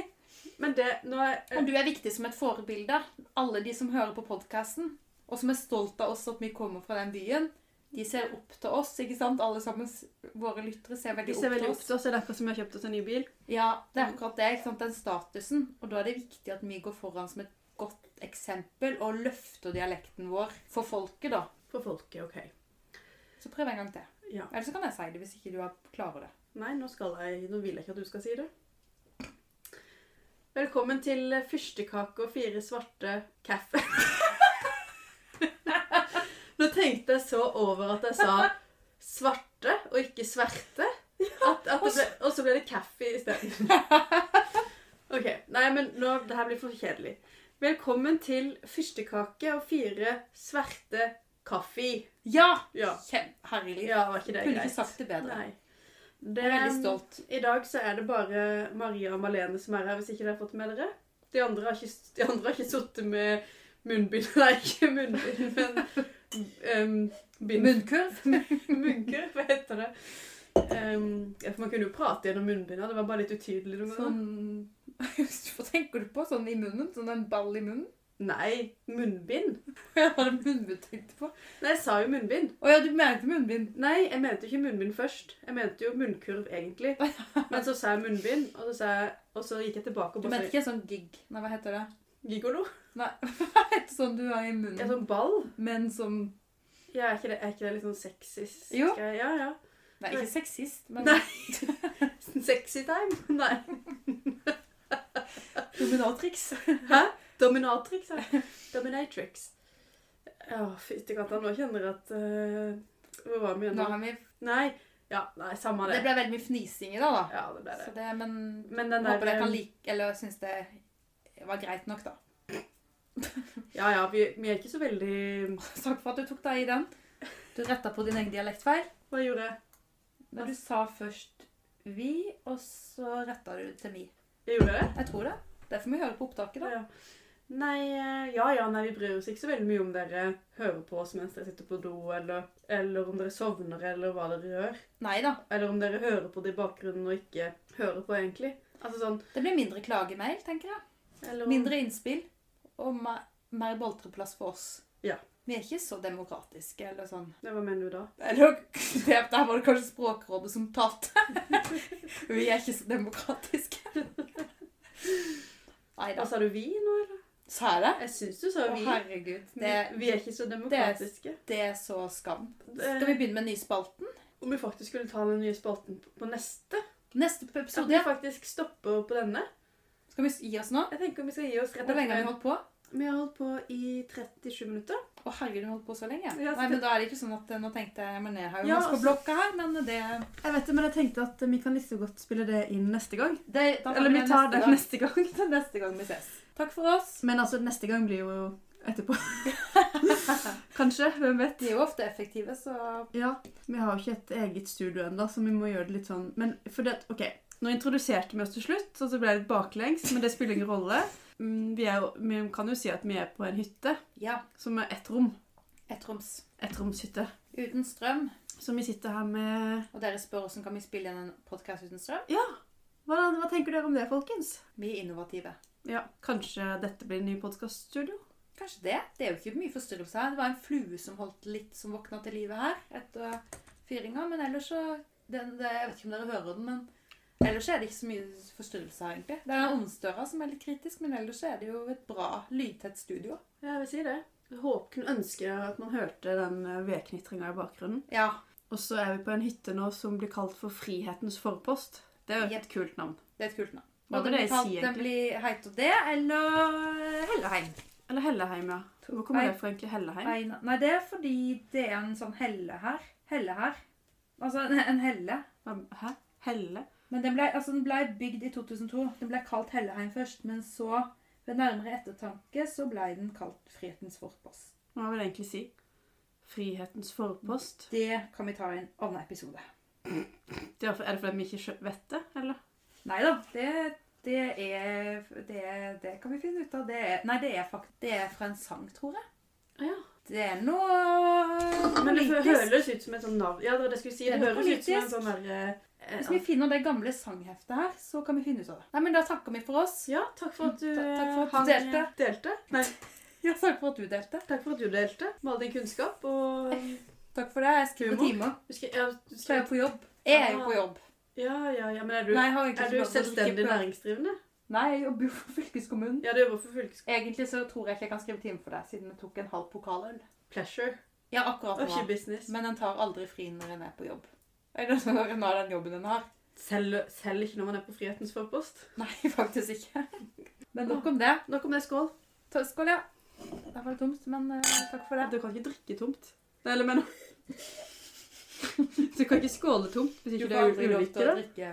[SPEAKER 3] Men det nå er,
[SPEAKER 2] Og du er viktig som et forbilde. Alle de som hører på podkasten, og som er stolt av oss at vi kommer fra den byen, de ser opp til oss, ikke sant? Alle sammen, s- våre lyttere, ser
[SPEAKER 3] Vi
[SPEAKER 2] veldig
[SPEAKER 3] ser
[SPEAKER 2] opp
[SPEAKER 3] veldig
[SPEAKER 2] til
[SPEAKER 3] opp
[SPEAKER 2] oss.
[SPEAKER 3] til oss, Mm. det er derfor som jeg har kjøpt oss en ny bil.
[SPEAKER 2] Ja, det er akkurat det, ikke sant? Den statusen. Og da er det viktig at vi går foran som et godt eksempel, og løfter dialekten vår for folket, da.
[SPEAKER 3] For folket, OK.
[SPEAKER 2] Så prøv en gang til.
[SPEAKER 3] Ja.
[SPEAKER 2] Eller så kan jeg si det, hvis ikke du er- klarer det.
[SPEAKER 3] Nei, nå, skal jeg, nå vil jeg ikke at du skal si det. Velkommen til fyrstekake og fire svarte kaffe. Nå tenkte jeg så over at jeg sa svarte og ikke sverte. At, at det ble, og så ble det kaffe isteden. OK. Nei, men nå, det her blir for kjedelig. Velkommen til fyrstekake og fire sverte kaffe.
[SPEAKER 2] Ja!
[SPEAKER 3] Ja.
[SPEAKER 2] Kjem- Herlig.
[SPEAKER 3] ja, var ikke det
[SPEAKER 2] Kunne ikke
[SPEAKER 3] greit?
[SPEAKER 2] sagt det bedre.
[SPEAKER 3] Nei.
[SPEAKER 2] Jeg er veldig
[SPEAKER 3] Det-
[SPEAKER 2] stolt.
[SPEAKER 3] i dag så er det bare Maria og Malene som er her, hvis ikke dere har fått med dere. De andre har ikke, de andre har ikke sittet med munnbind Nei, ikke munnbind, men um, bind.
[SPEAKER 2] Munnkurv.
[SPEAKER 3] Munker, hva heter det? Ehm, ja, for man kunne jo prate gjennom munnbindet, det var bare litt utydelig noen ganger.
[SPEAKER 2] Sånn Hva tenker du på? Sånn i munnen? Sånn en ball i munnen?
[SPEAKER 3] Nei, munnbind?
[SPEAKER 2] Hva var det munnbind du tenkte på?
[SPEAKER 3] Nei, jeg sa jo munnbind.
[SPEAKER 2] Å ja, du mente munnbind.
[SPEAKER 3] Nei, jeg mente ikke munnbind først. Jeg mente jo munnkurv, egentlig. Men så sa jeg munnbind, og så, sa jeg, og så gikk jeg tilbake og
[SPEAKER 2] Du
[SPEAKER 3] bare
[SPEAKER 2] mente ikke sånn gig. Nei, hva heter det?
[SPEAKER 3] Gigolo?
[SPEAKER 2] Nei, hva heter sånn du har i
[SPEAKER 3] Jeg er
[SPEAKER 2] munnen?
[SPEAKER 3] sånn ball.
[SPEAKER 2] Men som
[SPEAKER 3] Ja, er ikke det, er ikke det litt sånn sexist?
[SPEAKER 2] Jo.
[SPEAKER 3] Ja, ja.
[SPEAKER 2] Nei, ikke sexist, men
[SPEAKER 3] Nei. Sexy time? Nei.
[SPEAKER 2] dominatrix.
[SPEAKER 3] Dominatrix, ja. Dominatrix. Å, fytti katta, nå kjenner jeg at eh, Hvor var vi igjen
[SPEAKER 2] Nå
[SPEAKER 3] nå?
[SPEAKER 2] har vi
[SPEAKER 3] Nei, Ja, nei, samme
[SPEAKER 2] Det
[SPEAKER 3] det.
[SPEAKER 2] ble veldig mye fnising i det, da.
[SPEAKER 3] Ja, det ble det.
[SPEAKER 2] Så det, men,
[SPEAKER 3] Men den
[SPEAKER 2] håper dere
[SPEAKER 3] der eh,
[SPEAKER 2] kan like Eller syns det var greit nok, da.
[SPEAKER 3] Ja, ja, vi, vi er ikke så veldig
[SPEAKER 2] Takk for at du tok deg i den. Du retta på din egen dialektfeil.
[SPEAKER 3] Hva gjorde jeg?
[SPEAKER 2] Men du sa først 'vi', og så retta du til 'mi'.
[SPEAKER 3] Jeg gjorde det?
[SPEAKER 2] Jeg tror det. Derfor må vi høre på opptaket, da.
[SPEAKER 3] Ja. Nei, eh, ja ja, nei, vi bryr oss ikke så veldig mye om dere hører på oss mens dere sitter på do, eller, eller om dere sovner, eller hva dere gjør.
[SPEAKER 2] Nei da.
[SPEAKER 3] Eller om dere hører på det i bakgrunnen og ikke hører på, egentlig. Altså sånn
[SPEAKER 2] Det blir mindre klagemail, tenker jeg.
[SPEAKER 3] eller om,
[SPEAKER 2] Mindre innspill og ma- mer boltreplass for oss.
[SPEAKER 3] Ja.
[SPEAKER 2] Vi er ikke så demokratiske eller sånn.
[SPEAKER 3] Nei, Hva mener du da?
[SPEAKER 2] Eller det- der var det kanskje Språkrådet som talte. Vi er ikke så demokratiske. Nei
[SPEAKER 3] Hva
[SPEAKER 2] da.
[SPEAKER 3] sa du vi nå, eller?
[SPEAKER 2] Sa jeg det?
[SPEAKER 3] Jeg syns du sa
[SPEAKER 2] Å,
[SPEAKER 3] vi.
[SPEAKER 2] herregud.
[SPEAKER 3] Vi,
[SPEAKER 2] Det,
[SPEAKER 3] vi er ikke så demokratiske.
[SPEAKER 2] det er så skam.
[SPEAKER 3] Det-
[SPEAKER 2] Skal vi begynne med nyspalten?
[SPEAKER 3] Om vi faktisk skulle ta den nye spalten på- på neste?
[SPEAKER 2] Neste
[SPEAKER 3] At vi
[SPEAKER 2] episode.
[SPEAKER 3] faktisk stopper på denne?
[SPEAKER 2] Skal vi gi oss nå?
[SPEAKER 3] Jeg tenker om vi skal gi oss rett
[SPEAKER 2] Hvor lenge har vi
[SPEAKER 3] etter.
[SPEAKER 2] holdt på?
[SPEAKER 3] Vi har holdt på i 37 minutter.
[SPEAKER 2] Å herregud, vi har holdt på så lenge.
[SPEAKER 3] Ja, så
[SPEAKER 2] Nei,
[SPEAKER 3] det-
[SPEAKER 2] men da er det ikke sånn at eh, Nå tenkte jeg men jeg har jo
[SPEAKER 3] Ja,
[SPEAKER 2] masse på
[SPEAKER 3] altså-
[SPEAKER 2] blokka her, men det,
[SPEAKER 3] Jeg vet det, men jeg tenkte at vi kan like godt spille det inn neste gang.
[SPEAKER 2] det da tar
[SPEAKER 3] Eller vi
[SPEAKER 2] det
[SPEAKER 3] tar det
[SPEAKER 2] gang.
[SPEAKER 3] neste gang.
[SPEAKER 2] Til neste gang vi ses. Takk for oss.
[SPEAKER 3] Men altså, neste gang blir jo etterpå. Kanskje. Hvem vet?
[SPEAKER 2] De er jo ofte effektive, så
[SPEAKER 3] Ja, vi har jo ikke et eget studio ennå, så vi må gjøre det litt sånn Men for det, at- ok, nå introduserte vi oss til slutt, og så ble det litt baklengs, men det spiller ingen rolle. Mm, Vi, er, jo- vi kan jo si at vi er på en hytte
[SPEAKER 2] ja.
[SPEAKER 3] som er ett rom.
[SPEAKER 2] Ettroms.
[SPEAKER 3] Ettromshytte.
[SPEAKER 2] Uten strøm.
[SPEAKER 3] Så vi sitter her med
[SPEAKER 2] Og dere spør hvordan kan vi spille inn en podkast uten strøm?
[SPEAKER 3] hva, hva tenker dere om det, folkens?
[SPEAKER 2] Vi er innovative.
[SPEAKER 3] Ja, kanskje dette blir en ny podkaststudio?
[SPEAKER 2] Kanskje det. Det er jo ikke mye forstyrrelse her. Det var en flue som holdt litt, som våkna til live her etter fyringa. Men ellers så den, det, Jeg vet ikke om dere hører den, men ellers er det ikke så mye forstyrrelse her, egentlig. Det er ovnsdøra som er litt kritisk, men ellers så er det jo et bra, lydtett studio.
[SPEAKER 3] Ja, jeg vil si det. Jeg håper kunne ønske at man hørte den eh, vedknitringa i bakgrunnen.
[SPEAKER 2] Ja.
[SPEAKER 3] Og så er vi på en hytte nå som blir kalt for Frihetens forpost. Det er jo et kult navn.
[SPEAKER 2] Det er et kult navn.
[SPEAKER 3] Hva
[SPEAKER 2] Og
[SPEAKER 3] vil
[SPEAKER 2] den
[SPEAKER 3] det
[SPEAKER 2] blir kalt-
[SPEAKER 3] si,
[SPEAKER 2] Den blir heiter det, eller Helleheim.
[SPEAKER 3] Eller Helleheim, ja. Hvor kommer
[SPEAKER 2] Nei.
[SPEAKER 3] det fra egentlig, Helleheim?
[SPEAKER 2] Nei, nei, det er fordi det er en sånn helle her. Helle her. Altså en, en helle.
[SPEAKER 3] Hva- Hæ? Helle?
[SPEAKER 2] Men den ble, altså, den ble bygd i 2002. Den ble kalt Helleheim først, men så, ved nærmere ettertanke, så ble den kalt Frihetens forpost.
[SPEAKER 3] Hva vil det egentlig si? Frihetens forpost?
[SPEAKER 2] Det kan vi ta i en annen episode.
[SPEAKER 3] Det er, for, er det fordi vi ikke skjø- vet det, eller?
[SPEAKER 2] Nei da, det, det er det, det kan vi finne ut av. Det er, nei, det er faktisk Det er fra en sang, tror jeg.
[SPEAKER 3] Ja.
[SPEAKER 2] Det er noe
[SPEAKER 3] Men det
[SPEAKER 2] politisk.
[SPEAKER 3] høres ut som et sånt navn. Ja, det var det jeg skulle si.
[SPEAKER 2] Det
[SPEAKER 3] Det,
[SPEAKER 2] er noe
[SPEAKER 3] høres ut som en
[SPEAKER 2] politisk.
[SPEAKER 3] sånn der... eh,
[SPEAKER 2] Hvis vi finner det gamle sangheftet her, så kan vi finne ut av det. Nei, men Da takker vi for oss.
[SPEAKER 3] Ja, takk for at du,
[SPEAKER 2] Ta- takk for at du
[SPEAKER 3] hang-
[SPEAKER 2] delte.
[SPEAKER 3] delte. Nei,
[SPEAKER 2] Ja, takk for at du delte.
[SPEAKER 3] takk for at du delte. Med all din kunnskap, og...
[SPEAKER 2] Takk for det. Jeg skriver
[SPEAKER 3] Humor.
[SPEAKER 2] timer.
[SPEAKER 3] Du skal, ja, du
[SPEAKER 2] Så er jeg
[SPEAKER 3] skal,
[SPEAKER 2] på jobb. Jeg er jo på jobb.
[SPEAKER 3] ja, ja, ja, men er du,
[SPEAKER 2] Nei, jeg har egentlig
[SPEAKER 3] er
[SPEAKER 2] ikke
[SPEAKER 3] du
[SPEAKER 2] lov til å drikke
[SPEAKER 3] selvstendig
[SPEAKER 2] på-
[SPEAKER 3] næringsdrivende?
[SPEAKER 2] Nei, jeg jobber jo for fylkeskommunen.
[SPEAKER 3] Ja, du jobber for fylkeskommune.
[SPEAKER 2] Egentlig så tror jeg ikke jeg kan skrive time for deg, siden jeg tok en halv pokaløl.
[SPEAKER 3] Pleasure,
[SPEAKER 2] Ja, akkurat nå.
[SPEAKER 3] og ikke business.
[SPEAKER 2] Men den tar aldri fri når en er på jobb. Er det sånn at en har den jobben en har?
[SPEAKER 3] Selv, selv ikke når man er på frihetens forpost.
[SPEAKER 2] Nei, faktisk ikke. Men nok om det.
[SPEAKER 3] Nå kommer det skål.
[SPEAKER 2] Ta- Skål, ja. Der var det tomt, men eh, takk for det.
[SPEAKER 3] Du kan ikke drikke tomt. Nei, eller men Du kan ikke skåle tomt
[SPEAKER 2] Du
[SPEAKER 3] hvis ikke
[SPEAKER 2] får
[SPEAKER 3] det er
[SPEAKER 2] aldri lov til
[SPEAKER 3] ulykke.
[SPEAKER 2] å drikke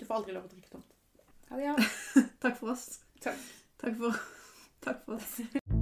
[SPEAKER 2] Du får aldri lov til å drikke tomt. Ha det, ja.
[SPEAKER 3] Takk for oss.
[SPEAKER 2] Takk.
[SPEAKER 3] Takk for, takk for oss.